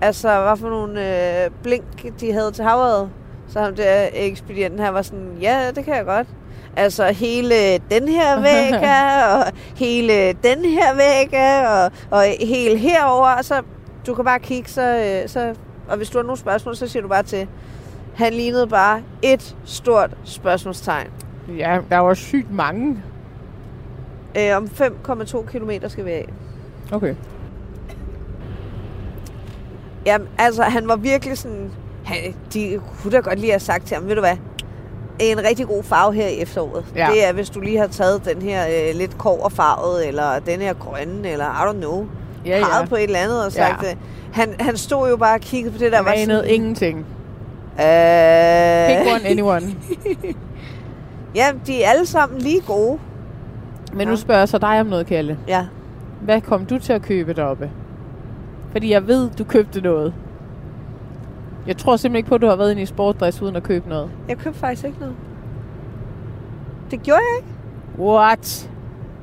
Altså, hvad for nogle øh, blink, de havde til havret. Så ham der ekspedienten her var sådan, ja, det kan jeg godt. Altså, hele den her væg er, og hele den her væg er, og, og hele herover. Og så, du kan bare kigge, så, øh, så, og hvis du har nogle spørgsmål, så siger du bare til. Han lignede bare et stort spørgsmålstegn. Ja, der var sygt mange. Øh, om 5,2 kilometer skal vi af. Okay. Jamen, altså, han var virkelig sådan... Han, de kunne da godt lige have sagt til ham, ved du hvad, en rigtig god farve her i efteråret. Ja. Det er, hvis du lige har taget den her øh, lidt koverfarvet, eller den her grønne, eller I don't know, Ja, ja. peget på et eller andet og sagt Ja. det. Han, han stod jo bare og kiggede på det, der Der var var anede ingenting. Pick sådan... one, anyone. "Øh, ja, de er alle sammen lige gode. Men nu Ja. spørger jeg så dig om noget, Kalle. Ja. Hvad kom du til at købe deroppe? Fordi jeg ved, du købte noget. Jeg tror simpelthen ikke på, at du har været inde i sportdress uden at købe noget. Jeg købte faktisk ikke noget. Det gjorde jeg ikke. What?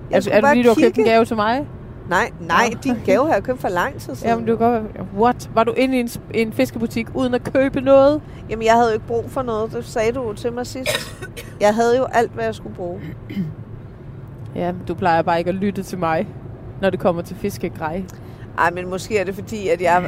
Jeg er, skulle er det bare fordi, du har købt en kigge. gave til mig? Nej, nej, Nå. din gave har jeg købt for lang tid siden. Jamen, du kan godt være- What? Var du inde i en, sp- en fiskebutik uden at købe noget? Jamen, jeg havde jo ikke brug for noget. Det sagde du jo til mig sidst. Jeg havde jo alt, hvad jeg skulle bruge. Ja, du plejer bare ikke at lytte til mig, når det kommer til fiskegrej. Ej, men måske er det fordi, at jeg...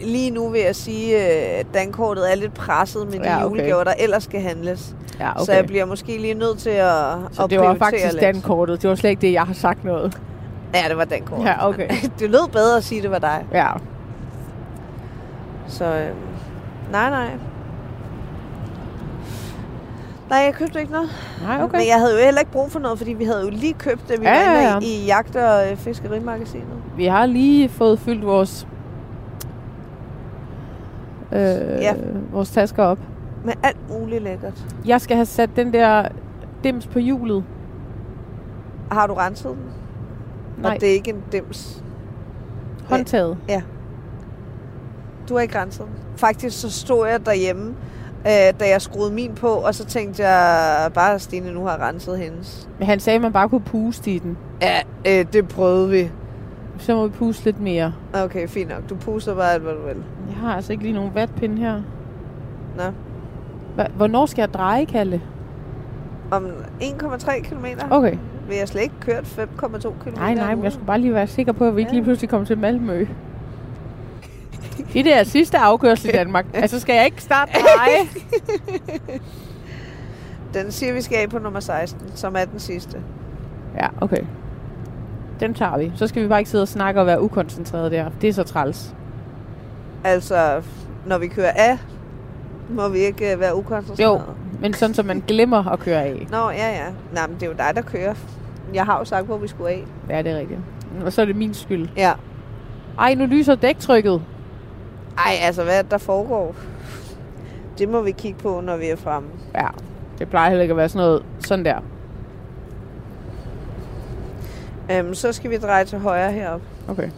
Lige nu vil jeg sige, øh, at dankortet er lidt presset med de Ja, ja, okay. okay. julegaver, der ellers skal handles. Ja, okay. Okay. Så jeg bliver måske lige nødt til at, så at det var prioritere faktisk lidt. dankortet. Det var slet ikke det, jeg har sagt noget. Ja, det var dankortet. Ja, okay. det lød bedre at sige, at det var dig. Ja. Så øh, nej, nej. Nej, jeg købte ikke noget. Nej, okay. Men jeg havde jo heller ikke brug for noget, fordi vi havde jo lige købt det, vi Ja, ja, var inde ja, ja. i, i jagt- og øh, fiskerimagasinet. Vi har lige fået fyldt vores... Øh, ja. Ja. vores tasker op. Med alt muligt lækkert. Jeg skal have sat den der dims på hjulet. Har du renset den? Nej, Og det er ikke en dims. håndtaget. Du har ikke renset den. Faktisk så stod jeg derhjemme, øh, da jeg skruede min på, og så tænkte jeg bare, at Stine nu har renset hendes. Men han sagde, at man bare kunne puste i den. Ja, øh, det prøvede vi. Så må vi puste lidt mere. Okay, fint nok. Du puster bare alt, hvad du vil. Jeg har altså ikke lige nogen vatpinde her. Nå. Hva- Hvornår skal jeg dreje, Kalle? Om 1,3 km Okay. vil jeg slet ikke kørt 5,2 km. Nej, nej, men jeg skulle bare lige være sikker på, at vi ikke Ja. lige pludselig kommer til Malmø. I det her sidste afkørsel i Danmark. Altså, skal jeg ikke starte dreje? Den siger, vi skal af på nummer 16, som er den sidste. Ja, okay. Den tager vi. Så skal vi bare ikke sidde og snakke og være ukoncentreret der. Det er så træls. Altså, når vi kører af, må vi ikke øh, være ukoncentrerede. Jo, men sådan, så man glemmer at køre af. Nå, ja, ja. Nej, men det er jo dig, der kører. Jeg har jo sagt, hvor vi skulle af. Ja, det er rigtigt. Og så er det min skyld. Ja. Ej, nu lyser dæktrykket. Ej, altså, hvad er det, der foregår? Det må vi kigge på, når vi er fremme. Ja, det plejer heller ikke at være sådan noget. Sådan der. Øhm, så skal vi dreje til højre heroppe. Okay.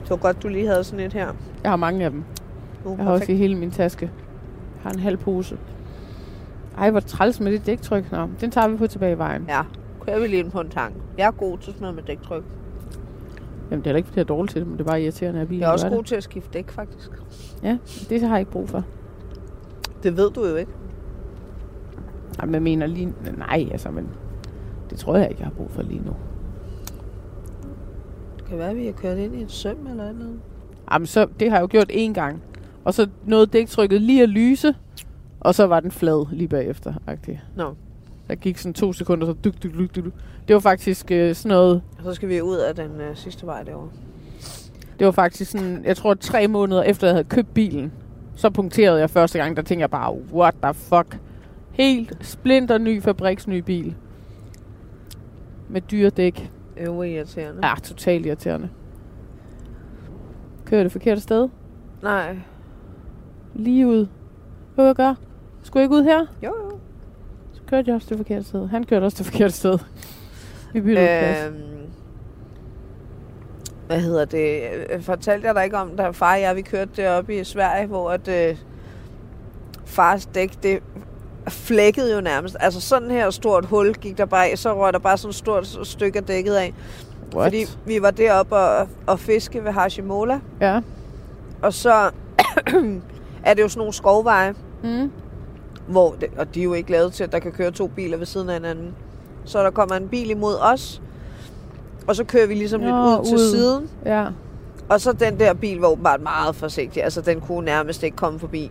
Det var godt, du lige havde sådan et her. Jeg har mange af dem. Uh, Jeg har også perfekt. i hele min taske. Jeg har en halv pose. Ej, hvor træls med det dæktryk. Nå, den tager vi på tilbage i vejen. Ja, kører vi lige ind på en tank. Jeg er god til sådan noget med dæktryk. Jamen, det er da ikke, fordi jeg er dårlig til det, men det er bare irriterende, at bilen Jeg er også gør god til at skifte dæk, faktisk. det. Ja, det har jeg ikke brug for. Det ved du jo ikke. Nej, men jeg mener lige... Nej, altså, men... Det tror jeg ikke, jeg har brug for lige nu. Det kan være, at vi har kørt ind i en søm eller andet. Jamen, så, det har jeg jo gjort én gang. Og så nåede dæktrykket lige at lyse, og så var den flad lige bagefter. -agtig. Nå. Der gik sådan to sekunder, så duk, duk, duk, duk. duk. Det var faktisk øh, sådan noget... Og så skal vi ud af den øh, sidste vej derovre. Det var faktisk sådan, jeg tror tre måneder efter, jeg havde købt bilen, så punkterede jeg første gang, der tænkte jeg bare, what the fuck? Helt splinter ny fabriksny bil. Med dyre dæk. Øvrig irriterende. Ja, totalt irriterende. Kører det forkerte sted? Nej. Lige ud. Hvad jeg gøre? Skulle jeg ikke ud her? Jo, jo. Så kørte jeg også det forkerte sted. Han kørte også det forkerte sted. Vi byttede øh, plads. Øhm, hvad hedder det? Øh, Fortalte jeg dig ikke om, da far og jeg, vi kørte deroppe i Sverige, hvor at, øh, fars dæk, det flækkede jo nærmest. Altså sådan her stort hul gik der bare i, så røg der bare sådan et stort s- stykke af dækket af. What? Fordi vi var deroppe og, og fiske ved Hashimola, Ja. og så er det jo sådan nogle skovveje, Mm. hvor det, og de er jo ikke lavet til, at der kan køre to biler ved siden af hinanden. Så der kommer en bil imod os, og så kører vi ligesom lidt Nå, ud til ud. siden. Ja. Og så den der bil var åbenbart meget forsigtig, altså den kunne nærmest ikke komme forbi.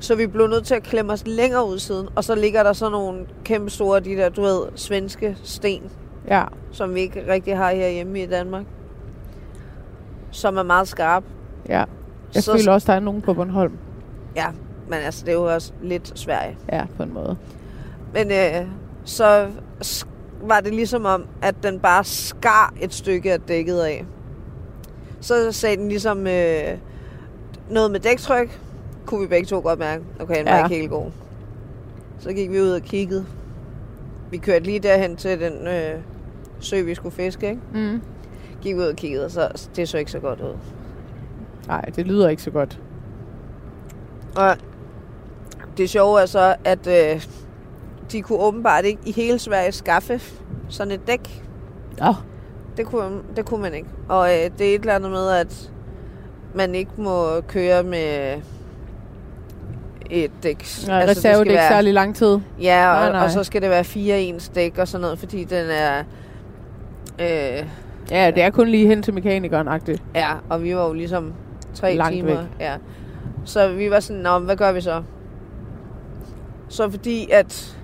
Så vi blev nødt til at klemme os længere ud i siden, og så ligger der sådan nogle kæmpe store, de der, du ved, svenske sten, Ja. som vi ikke rigtig har herhjemme i Danmark, som er meget skarpe. Ja. Jeg Så- så... føler også, der er nogen på Bornholm. Men altså, det er jo også lidt Sverige. Ja, på en måde. Men øh, så sk- var det ligesom om, at den bare skar et stykke af dækket af. Så sagde den ligesom øh, noget med dæktryk. Kunne vi begge to godt mærke. Okay, den var Ja. ikke helt god. Så gik vi ud og kiggede. Vi kørte lige derhen til den øh, sø, vi skulle fiske. Ikke? Mm. Gik ud og kiggede, og så det så ikke så godt ud. Nej, det lyder ikke så godt. Og det sjove er så, at øh, de kunne åbenbart ikke i hele Sverige skaffe sådan et dæk. Åh, Det kunne, det kunne man ikke. Og øh, det er et eller andet med, at man ikke må køre med et dæk. nej, altså, reserve det er ikke være, særlig lang tid. Ja, og, Nej, nej, nej. nej. og så skal det være fire ens dæk og sådan noget, fordi den er... Øh, Ja, det er kun lige hen til mekanikeren-agtigt. ja, og vi var jo ligesom tre Langt timer. væk. Ja. Så vi var sådan, Nå, men hvad gør vi så? Så fordi at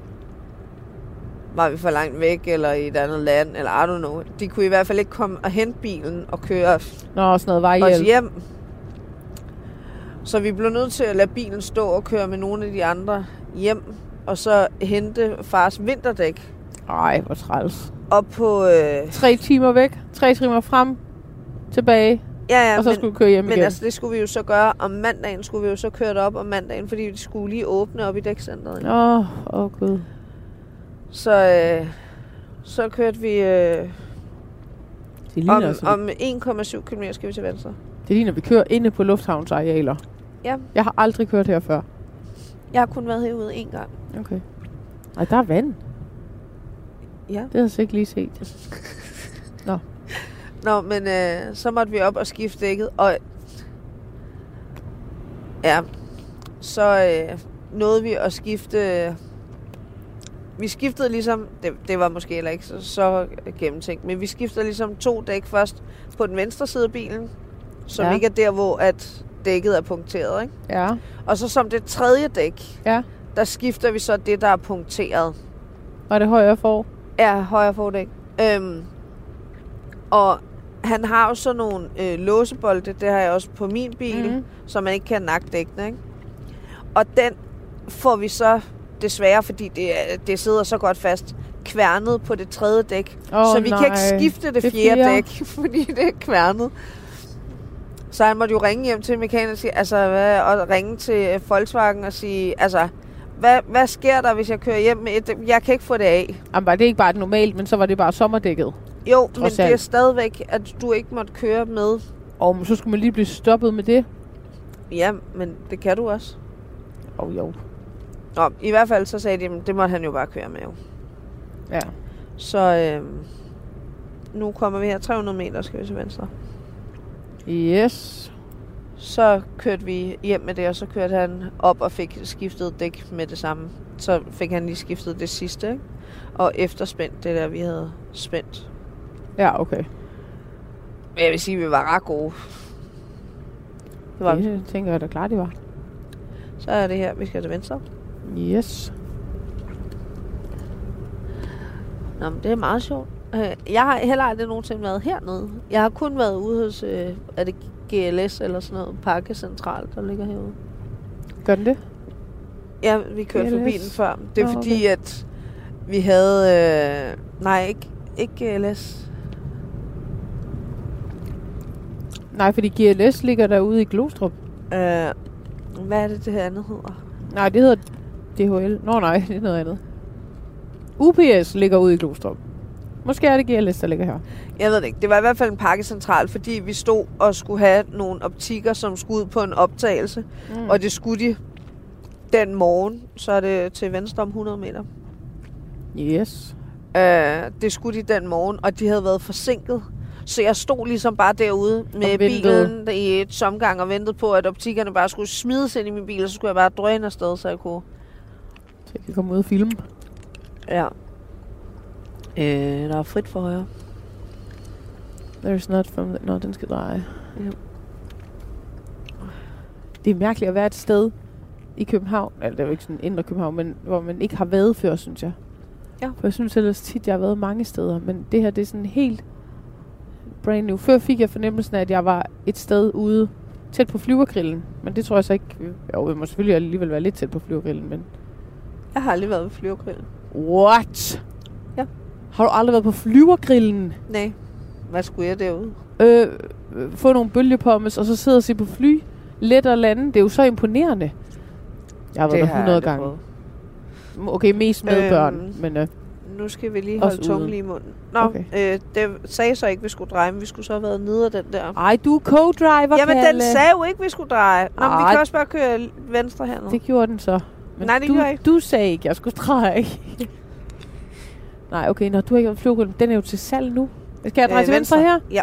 var vi for langt væk, eller i et andet land, eller I don't know. De kunne i hvert fald ikke komme og hente bilen og køre Nå, sådan noget os vejhjælp. hjem. Så vi blev nødt til at lade bilen stå og køre med nogle af de andre hjem, og så hente fars vinterdæk Ej, hvor træls. op på... Øh, Tre timer væk, tre timer frem, tilbage, ja, ja, ja, og så men, skulle du køre hjem men igen. altså, det skulle vi jo så gøre om mandagen, skulle vi jo så køre det op om mandagen, fordi de skulle lige åbne op i dækcenteret. Ja. Åh, åh oh, gud. Så, øh, så kørte vi... Øh, Det ligner, om, om, altså, om... om 1,7 km skal vi til venstre. det ligner, vi kører inde på lufthavnsarealer. Ja. Jeg har aldrig kørt her før. Jeg har kun været herude en gang. Okay. Ej, der er vand. Ja. Det har jeg så ikke lige set. Nå, men øh, så måtte vi op og skifte dækket, og ja, så øh, nåede vi at skifte, vi skiftede ligesom, det, det var måske heller ikke så, så gennemtænkt, men vi skiftede ligesom to dæk først på den venstre side af bilen, som ja. Ja. ikke er der, hvor at dækket er punkteret, ikke? Ja. Og så som det tredje dæk, Ja. der skifter vi så det, der er punkteret. Var det højre for? Ja, højre fordæk. Øhm, og han har jo sådan nogle øh, låsebolde, det har jeg også på min bil, Mhm. mm. så man ikke kan nakke dækkene, ikke? Og den får vi så desværre, fordi det, er- det sidder så godt fast, kværnet på det tredje dæk. Åh, så vi nej. kan ikke skifte det Det fjerde fjerde. dæk, fordi det er kværnet. Så han måtte jo ringe hjem til mekanikeren og, sige, altså, hvad, og ringe til øh, Volkswagen og sige, altså, hvad, hvad sker der, hvis jeg kører hjem med et dæk? Jeg kan ikke få det af. Jamen, var det ikke bare et normalt, men så var det bare sommerdækket. Jo, men Trods det er alt. stadigvæk, at du ikke måtte køre med. Og men så skulle man lige blive stoppet med det. Ja, men det kan du også. Åh, oh, jo. Nå, i hvert fald så sagde de, at det måtte han jo bare køre med. Jo. Ja. Så øh, nu kommer vi her 300 meter, skal vi til venstre. Yes. Så kørte vi hjem med det, og så kørte han op og fik skiftet dæk med det samme. Så fik han lige skiftet det sidste, ikke? Og efterspændt det der, vi havde spændt. Ja, okay. Men jeg vil sige, at vi var ret gode. Det var, Det tænker jeg da klart, det var. Så er det her, vi skal til venstre. Yes. Nå, men det er meget sjovt. Øh, Jeg har heller aldrig nogensinde været hernede. Jeg har kun været ude hos, øh, er det GLS eller sådan noget, pakkecentral, der ligger herude. Gør den det? Ja, vi kørte LS. forbi den før. Det er Nå, fordi, at vi havde... Øh, nej, ikke, ikke LS. Nej, fordi GLS ligger derude i Glostrup. Øh, hvad er det, det her andet hedder? Nej, det hedder DHL. Nå nej, det er noget andet. UPS ligger ude i Glostrup. Måske er det GLS, der ligger her. Jeg ved det ikke. Det var i hvert fald en pakkecentral, fordi vi stod og skulle have nogle optikker, som skulle ud på en optagelse. Mm. Mm. Og det skulle de den morgen, så er det til venstre om 100 meter. Yes. Øh, det skulle de den morgen, og de havde været forsinket. Så jeg stod ligesom bare derude med Og ventede. bilen i et somgang og ventede på, at optikkerne bare skulle smides ind i min bil, og så skulle jeg bare drøne afsted, så jeg kunne... Så jeg kan komme ud og filme. Ja. Øh, der er frit for højre. There's not from... The... Nå, den skal dreje. Ja. Det er mærkeligt at være et sted i København, altså det er jo ikke sådan indre København, men hvor man ikke har været før, synes jeg. Ja. For jeg synes ellers tit, jeg har været mange steder, men det her, det er sådan helt brand new. Før fik jeg fornemmelsen af, at jeg var et sted ude tæt på flyvergrillen, men det tror jeg så ikke... Jo, jeg må selvfølgelig alligevel være lidt tæt på flyvergrillen, men... Jeg har aldrig været ved flyvergrillen. What? Ja. Har du aldrig været på flyvergrillen? Nej. Hvad skulle jeg derude? øh, øh, få nogle bølgepommes, og så sidde og se på fly, let og lande. Det er jo så imponerende. Jeg har været der 100 gange. prøvet. Okay, mest med Øhm, børn, men øh, Nu skal vi lige Også holde tungen ude. lige i munden. Nå, Okay. okay. øh, det sagde så ikke, vi skulle dreje, men vi skulle så have været nede af den der. ej, du er co-driver, Jamen, den Palle. sagde jo ikke, vi skulle dreje. Nå, men vi Ej. kan også bare køre venstre hernede. Det gjorde den så. Nej, det du, gjorde jeg ikke. du sagde ikke, jeg skulle dreje. Nej, okay, når du har ikke været flyvehul, den er jo til salg nu. Skal jeg dreje Øh, til venstre her? venstre. Ja.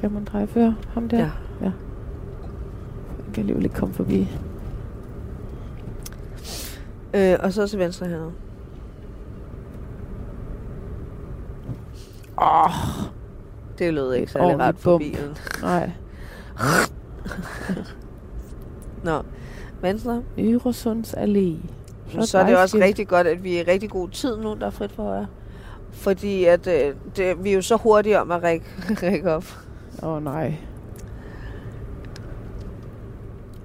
Kan man dreje før ham der? Ja. ja. Jeg kan alligevel ikke komme forbi. Øh, og så til venstre hernede. Åh, oh, det lød ikke særlig ordentligt ret for bump. bilen. Nej. Nå, venstre. Øresunds Allé. Så, så er det også rigtig godt, at vi er i rigtig god tid nu, der er frit for højre. Fordi at, øh, det, vi er jo så hurtige om at række, række op. Åh oh, nej.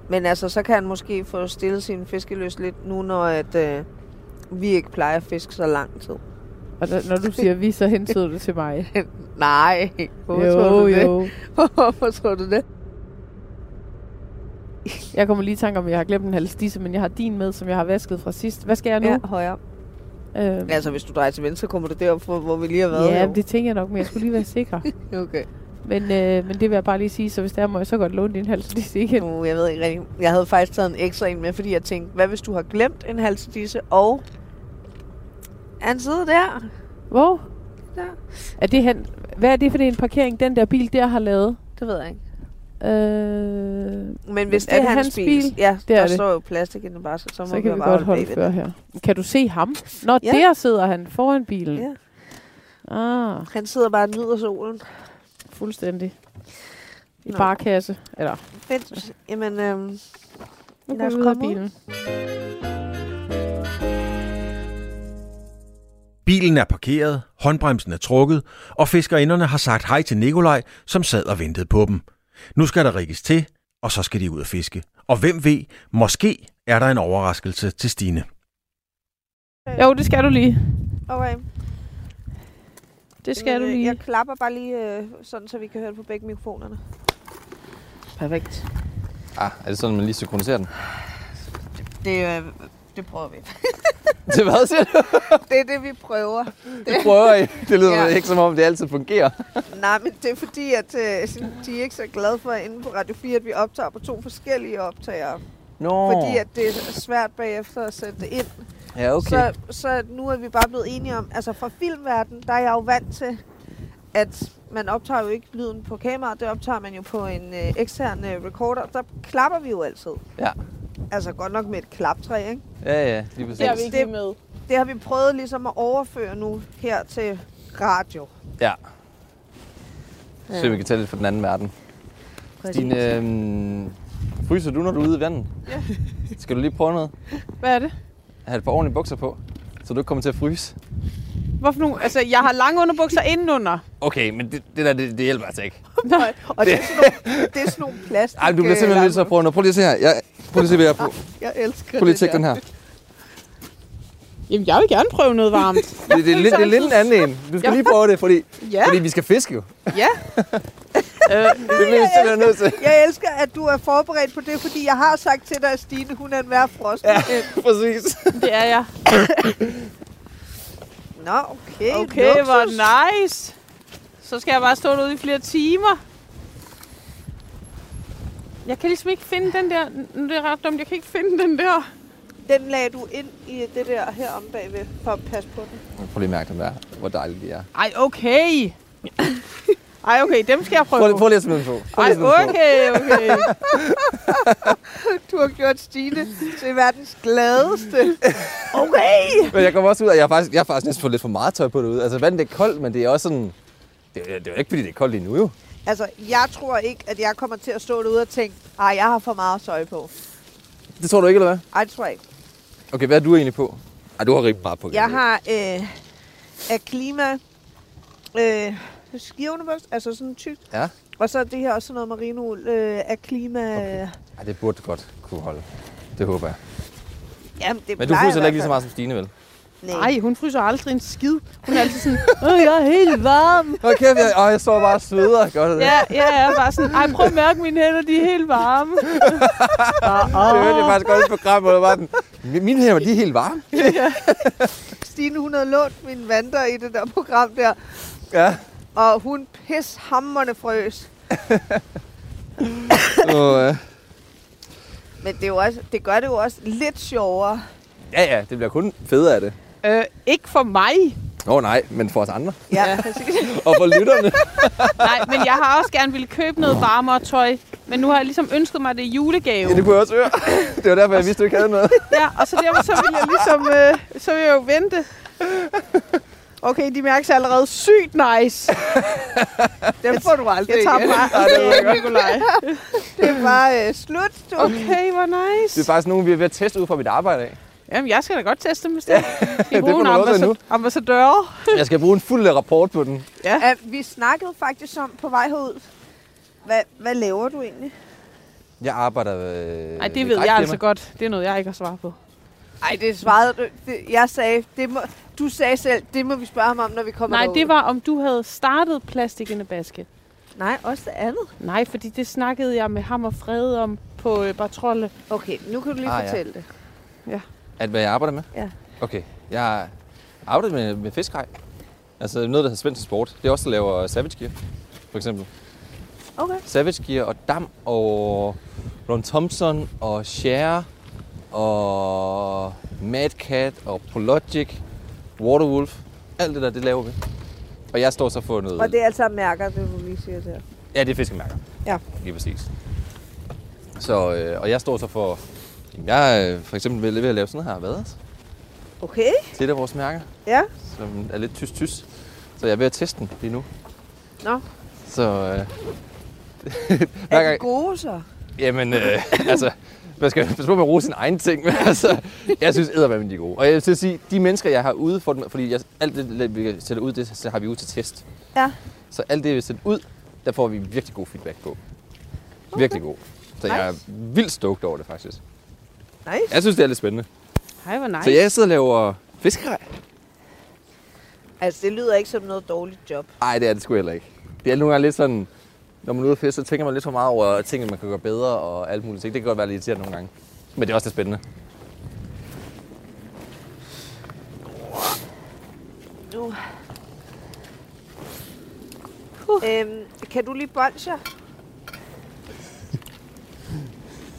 Men altså, så kan han måske få stillet sin fiskeløs lidt nu, når at, øh, vi ikke plejer at fiske så lang tid. Og der, når du siger vi, så hentyder du til mig. Nej, hvorfor jo, tror du det? jo. Hvorfor tror du det? Jeg kommer lige i tanke om, at jeg har glemt en halvstisse, men jeg har din med, som jeg har vasket fra sidst. Hvad skal jeg nu? Ja, højre. Ja, øhm, Altså, hvis du drejer til venstre, kommer du derop, hvor hvor vi lige har været. ja jo. det tænker jeg nok, men jeg skulle lige være sikker. Okay. men, øh, men det vil jeg bare lige sige, så hvis der må jeg så godt låne din halvstisse igen. Uh, jeg ved ikke rigtig. Jeg havde faktisk taget en ekstra en med, fordi jeg tænkte, hvad hvis du har glemt en halsedisse, og han sidder der. Hvor? Der. Er det han, hvad er det for en parkering, den der bil der har lavet? Det ved jeg ikke. Øh, Men hvis det er, hans, bil, ja, Det er der det. står jo plastik i den bare, så, så må så kan vi bare godt holde bag før her. Kan du se ham? Nå, Ja. der sidder han foran bilen. Ja. Ah. ved. Han sidder bare og nyder solen. Fuldstændig. I Nå. barkasse. Eller, Fedt. Jamen, øhm, nu Lad går os vi ud af komme ud. bilen. Bilen er parkeret, håndbremsen er trukket, og fiskerinderne har sagt hej til Nikolaj, som sad og ventede på dem. Nu skal der rigges til, og så skal de ud og fiske. Og hvem ved, måske er der en overraskelse til Stine. Jo, det skal du lige. okay. Det skal Jamen, du øh, lige. Jeg klapper bare lige øh, sådan, så vi kan høre det på begge mikrofonerne. Perfekt. Ah, er det sådan, man lige synkroniserer den? Det, øh, det prøver vi. Det hvad, siger du? Det er det, vi prøver. Det prøver I. Det lyder Ja. ja. ikke som om, det altid fungerer. Nej, men det er fordi, at øh, de er ikke så glade for inde på Radio 4, at vi optager på to forskellige optagere. Nå, Oh. Fordi at det er svært bagefter at sætte det ind. ja, okay. Så... Så, så nu er vi bare blevet enige om, altså fra filmverdenen, der er jeg jo vant til, at man optager jo ikke lyden på kameraet, det optager man jo på en øh, ekstern øh, recorder. Der klapper vi jo altid. Ja. Altså godt nok med et klaptræ, ikke? Ja, ja, lige præcis. Det har vi ikke lige med. Det har vi prøvet ligesom at overføre nu her til radio. Ja. Så vi kan tage lidt fra den anden verden. Stine, øhm, fryser du, når du er ude i vandet? Ja. Skal du lige prøve noget? Hvad er det? Have et par ordentlige bukser på, så du ikke kommer til at fryse. Hvorfor nu? Altså, jeg har lange underbukser indenunder. Okay, men det, det der, det, det hjælper altså ikke. Nej. Og det er sådan nogle, det er sådan nogle plastik... Ej, du bliver øh, simpelthen nødt til at prøve noget. Prøv lige at se her. Jeg, Prøv lige at se, hvad jeg har på. Jeg elsker Prøv lige at tjekke den her. Jamen, jeg vil gerne prøve noget varmt. Det, det, er, lidt, det er lidt en anden en. Du skal lige prøve det, fordi, Ja, fordi vi skal fiske jo. ja. øh, Det bliver vi simpelthen nødt til. Jeg elsker, at du er forberedt på det, fordi jeg har sagt til dig, at Stine, hun er en værfrost. Ja. Præcis. det er jeg. Nå, okay. Okay, luksus. hvor nice. Så skal jeg bare stå derude i flere timer. Jeg kan ligesom ikke finde den der... Nu er det ret dumt, jeg kan ikke finde den der. Den lagde du ind i det der her om bagved, for at passe på den. Prøv lige at mærke dem der, hvor dejlige de er. Ej, okay. Ej, okay, dem skal jeg prøve. Prøv, lige- prøv lige at smide dem på. Prøv Ej, lige at smide dem på. okay, okay. Du har gjort Stine til verdens gladeste. Okay. Men jeg kommer også ud, og jeg har faktisk, jeg har faktisk næsten fået lidt for meget tøj på derude. Altså vandet det er koldt, men det er også sådan... Det, er- det er jo ikke, fordi det er koldt lige nu jo. Altså, jeg tror ikke, at jeg kommer til at stå derude og tænke, ej, jeg har for meget tøj på. Det tror du ikke, eller hvad? Ej, det tror jeg ikke. Okay, hvad er du egentlig på? Ej, du har rigtig meget på. kan Jeg se. har øh, af klima øh, skivnebøst, altså sådan tykt. Ja. Og så er det her også sådan noget marinoul øh, af klima. Okay. Okay. Ej, det burde godt kunne holde. Det håber jeg. Jamen, det Men du plejer fryser heller jeg ikke lige så i hvert meget som Stine, vel? fald. Nej. Ej, hun fryser aldrig en skid. Hun er altid sådan, Åh, jeg er helt varm. Hold kæft, jeg, åh, jeg står bare og sveder. Gør det det? Ja, ja, jeg er bare sådan, ej, prøv at mærke mine hænder, de er helt varme. Det hørte jeg faktisk godt i programmet, hvor der var den. "Mi- Mine hænder, de er helt varme. Stine, hun havde lånt min vandre i det der program der, Ja. og hun pishammerne frøs. Og, øh, Men det, er jo også, det gør det jo også lidt sjovere. ja, ja, det bliver kun federe af det. Øh, ikke for mig. Åh oh, nej, men for os andre. Ja, præcis. Og for lytterne. Nej, men jeg har også gerne ville købe noget varmere tøj. Men nu har jeg ligesom ønsket mig det i julegave. Ja, det kunne jeg også høre. Det var derfor, jeg vidste, du ikke havde noget. Ja, og så derfor så ville jeg ligesom, øh, så ville jeg jo vente. Okay, de mærker sig allerede sygt nice. Dem får du aldrig Jeg tager igen. bare aldrig Nikolaj. Det er bare øh, slut, du. Okay, hvor Det er nice. faktisk nogen, vi er ved at teste ud fra mit arbejde af. Jamen, jeg skal da godt teste dem, hvis det er. Vi det må bruger en du også ambassad- nu. ambassadør. Jeg skal bruge en fuld øh, rapport på den. Ja, vi snakkede faktisk om på vej herud. Hvad, hvad laver du egentlig? Jeg arbejder øh, ved... Nej, det ved jeg altså godt. Det er noget, jeg ikke har svar på. Nej, det svarede du. Det, jeg sagde, det må, du sagde selv, det må vi spørge ham om, når vi kommer Nej, derud. det var, om du havde startet Plastic in a Basket. Nej, også det andet. Nej, fordi det snakkede jeg med ham og Frede om på øh, Bartrolle. Okay, nu kan du lige Ah, ah, ja. fortælle ja. det. At hvad jeg arbejder med? Ja. Okay. Jeg arbejder med, med fiskegrej. Altså noget, der hedder Svendsen Sport. Det er også, der laver Savage Gear, for eksempel. Okay. Savage Gear og Dam og Ron Thompson og Share og Mad Cat og Prologic, Waterwolf. Alt det der, det laver vi. Og jeg står så for noget... Og det er altså mærker, det du lige siger der. Ja, det er fiskemærker. Ja. Lige præcis. Så, øh, og jeg står så for... Jamen, jeg er øh, for eksempel ved, ved at lave sådan noget her vaders. Okay, Det er der vores mærker, ja. som er lidt tyst-tyst. Så jeg er ved at teste den lige nu. Nå. Så... Øh, hver Er de gang, gode så? jamen, øh, altså... Man skal passe på med at rose sin egen ting, men altså, jeg synes eddermame, de er gode. Og jeg vil til at sige, de mennesker, jeg har ude for dem, fordi jeg, alt det, vi sætter ud, det så har vi ud til test. Ja. Så alt det, vi sætter ud, der får vi virkelig god feedback på. Virkelig god. Så jeg er vildt stoked over det, faktisk. Nice. Jeg synes, det er lidt spændende. Hej, hvor nice. Så jeg sidder og laver fiskerej. Altså, det lyder ikke som noget dårligt job. Nej, det er det sgu heller ikke. Det er nogle gange lidt sådan, når man er ude at fiske, så tænker man lidt for meget over ting, man kan gøre bedre og alt muligt ting. Det kan godt være lidt irriterende nogle gange. Men det er også lidt spændende. Nu. Øhm, kan du lige bolcher?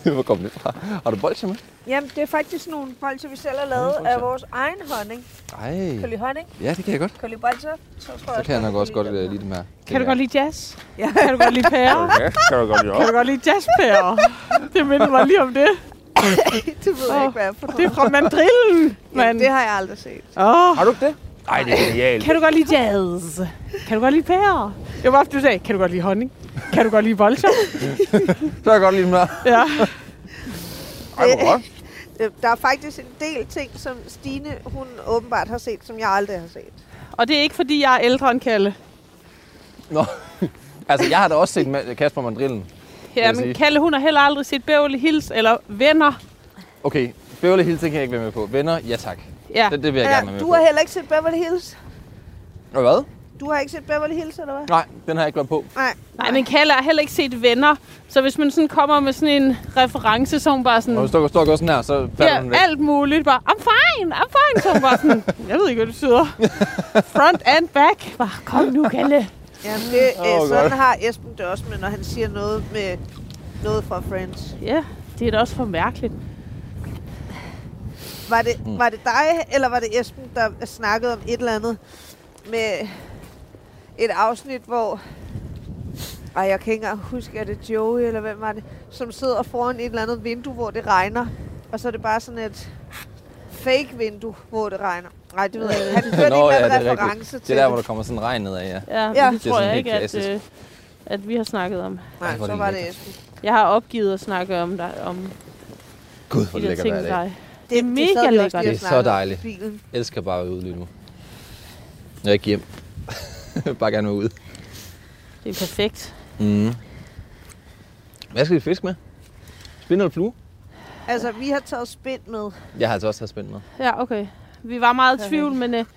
Hvor kom det fra? Har du bolsje med? Jamen, det er faktisk nogle bolcher, vi selv har lavet Nogle bolcher. af vores egen honning. Nej. Kan du lide honning? Ja, det kan jeg godt. Kan du lide bolcher? Så, tror Så kan jeg godt, nok du også godt den øh, her. lide dem her. Kan du godt lide jazz? Ja. Kan du godt lide pærer? Ja, kan du godt lide Kan du godt lide jazzpærer? Det minder mig lige om det. Det ved jeg Åh, ikke, hvad jeg er for noget. Det er fra mandrillen, Jamen, mand. det har jeg aldrig set. Åh, Har du ikke det? Nej, det er genialt. kan du godt lide jazz? Kan du godt lide pærer? Det var bare, fordi du sagde, kan du godt lide honning? Kan du godt lide bolcher? Så kan jeg godt lide dem her. Ja. Ej, hvor godt. Øh, Der er faktisk en del ting, som Stine, hun åbenbart har set, som jeg aldrig har set. Og det er ikke, fordi jeg er ældre end Kalle. Nå. Altså, jeg har da også set Ma- Kasper Mandrillen. Ja, jeg men sige. Kalle, hun har heller aldrig set Beverly Hills eller Venner. Okay, Beverly Hills den kan jeg ikke være med på. Venner, ja tak. Ja, Det, det vil jeg gerne være med du på. har heller ikke set Beverly Hills? Og hvad? Du har ikke set Beverly Hills, eller hvad? Nej, den har jeg ikke været på. nej, men Kalle har heller ikke set Venner. Så hvis man sådan kommer med sådan en reference, så er hun bare sådan... Når du står, står og går sådan her, så falder Ja, den væk. alt muligt. Bare, I'm fine, I'm fine. Så hun bare sådan, jeg ved ikke, hvad det betyder. Front and back. Bare, kom nu, Kalle. Jamen, det, Åh, øh, sådan godt. har Esben det også med, når han siger noget med noget fra Friends. Ja, det er da også for mærkeligt. Var det, Mm. var det dig, eller var det Esben, der snakkede om et eller andet med et afsnit, hvor... Ej, jeg kan ikke engang huske, er det Joey, eller hvem var det, som sidder foran et eller andet vindue, hvor det regner, og så er det bare sådan et fake vindue, hvor det regner. Nej, det ved jeg ikke. Han kørte Nå, Nå, ja, en det eller er anden rigtigt. reference Det er til der, hvor der kommer sådan regn ned af, ja. Ja, ja Ja. det Det er tror sådan jeg helt ikke, at, klassisk. øh, at vi har snakket om. Ej, Nej, hvor er så det var det lækkert. Esben. Jeg har opgivet at snakke om dig, om Gud, de hvor der lækkert ting hver med dag. dig. Det er mega sad vi også lækkert. lige og Det er så snakkede om i dejligt. Bilen. Jeg elsker bare at være ude lige nu. Jeg er ikke hjem. Jeg vil bare gerne være ude. Det er perfekt. Mm. Hvad skal vi fiske med? Spind eller flue? Altså, vi har taget spind med. Jeg har altså også taget spind med. Ja, okay. Vi var meget i tvivl, men øh, jeg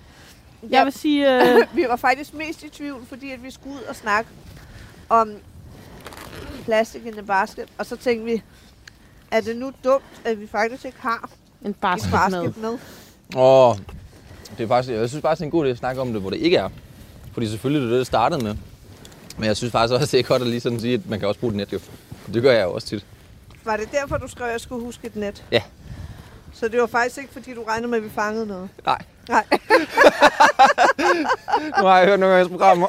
Ja. vil sige, øh, vi var faktisk mest i tvivl, fordi at vi skulle ud og snakke om plastik in the basket, og så tænkte vi, er det nu dumt, at vi faktisk ikke har en et basket med. basket med? Åh, det er faktisk, jeg synes faktisk, det er en god idé at snakke om det, hvor det ikke er. Fordi selvfølgelig det er det, det startede med. Men jeg synes faktisk også, det er godt at lige sådan sige, at man kan også bruge et net jo. Det gør jeg jo også tit. Var det derfor, du skrev, at jeg skulle huske et net? Ja. Så det var faktisk ikke, fordi du regnede med, at vi fangede noget? Nej. Nej. nu har jeg hørt nogle af jeres programmer.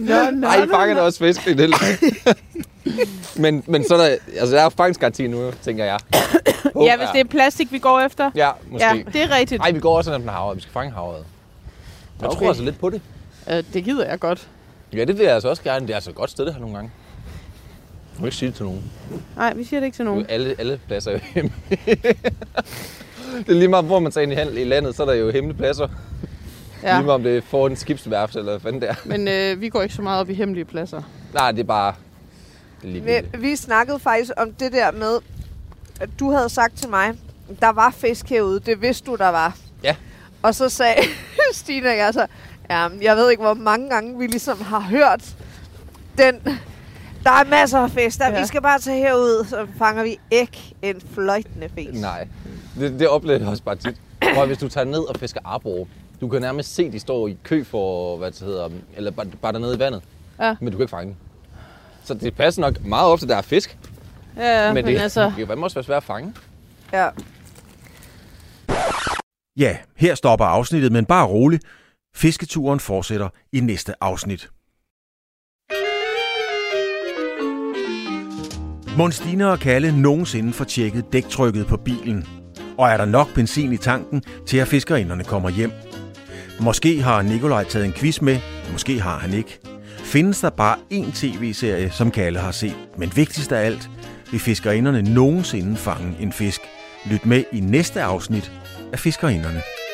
Nå, nå, Nej, I fanger da også fisk i det. men, men så er der, altså der er fangstgaranti nu, jo, tænker jeg. Ja, hvis det er plastik, vi går efter. Ja, Ja, måske. det er rigtigt. Nej, vi går også sådan efter havet. Vi skal fange havet. Jeg tror altså lidt på det. Øh, det gider jeg godt. Ja, det vil jeg altså også gerne. Det er altså et godt sted, det her nogle gange. Du må ikke sige det til nogen. Nej, vi siger det ikke til Nu er nogen. alle, alle pladser jo hemmelige. det er lige meget, hvor man tager ind i, handel, i landet, så er der jo hemmelige pladser. Ja. Lige meget om det er foran skibsværft eller hvad fanden det er. Men øh, vi går ikke så meget op i hemmelige pladser. Nej, det er bare... Det er lige Vi, vi snakkede faktisk om det der med, at du havde sagt til mig, der var fisk herude, det vidste du, der var. Ja. Og så sagde Stine og jeg så, ja, jeg ved ikke, hvor mange gange vi ligesom har hørt den, der er masser af fisk, der, ja. Ja. vi skal bare tage herud, så fanger vi ikke en fløjtende fisk. Nej, det, det oplevede jeg også bare tit. Prøv, at, hvis du tager ned og fisker arbor, du kan nærmest se, de står i kø for, hvad det hedder, eller bare, bare dernede i vandet. Ja. Men du kan ikke fange dem. Så det passer nok meget ofte, der er fisk, Ja, ja, men, det, altså... det kan fandme også være svært at fange. Ja. Ja, her stopper afsnittet, men bare rolig. Fisketuren fortsætter i næste afsnit. Monstine og Kalle nogensinde får tjekket dæktrykket på bilen. Og er der nok benzin i tanken, til at fiskerinderne kommer hjem? Måske har Nikolaj taget en quiz med, måske har han ikke. Findes der bare én tv-serie, som Kalle har set, men vigtigst af alt, vil fiskerinderne nogensinde fange en fisk? Lyt med i næste afsnit af Fiskerinderne.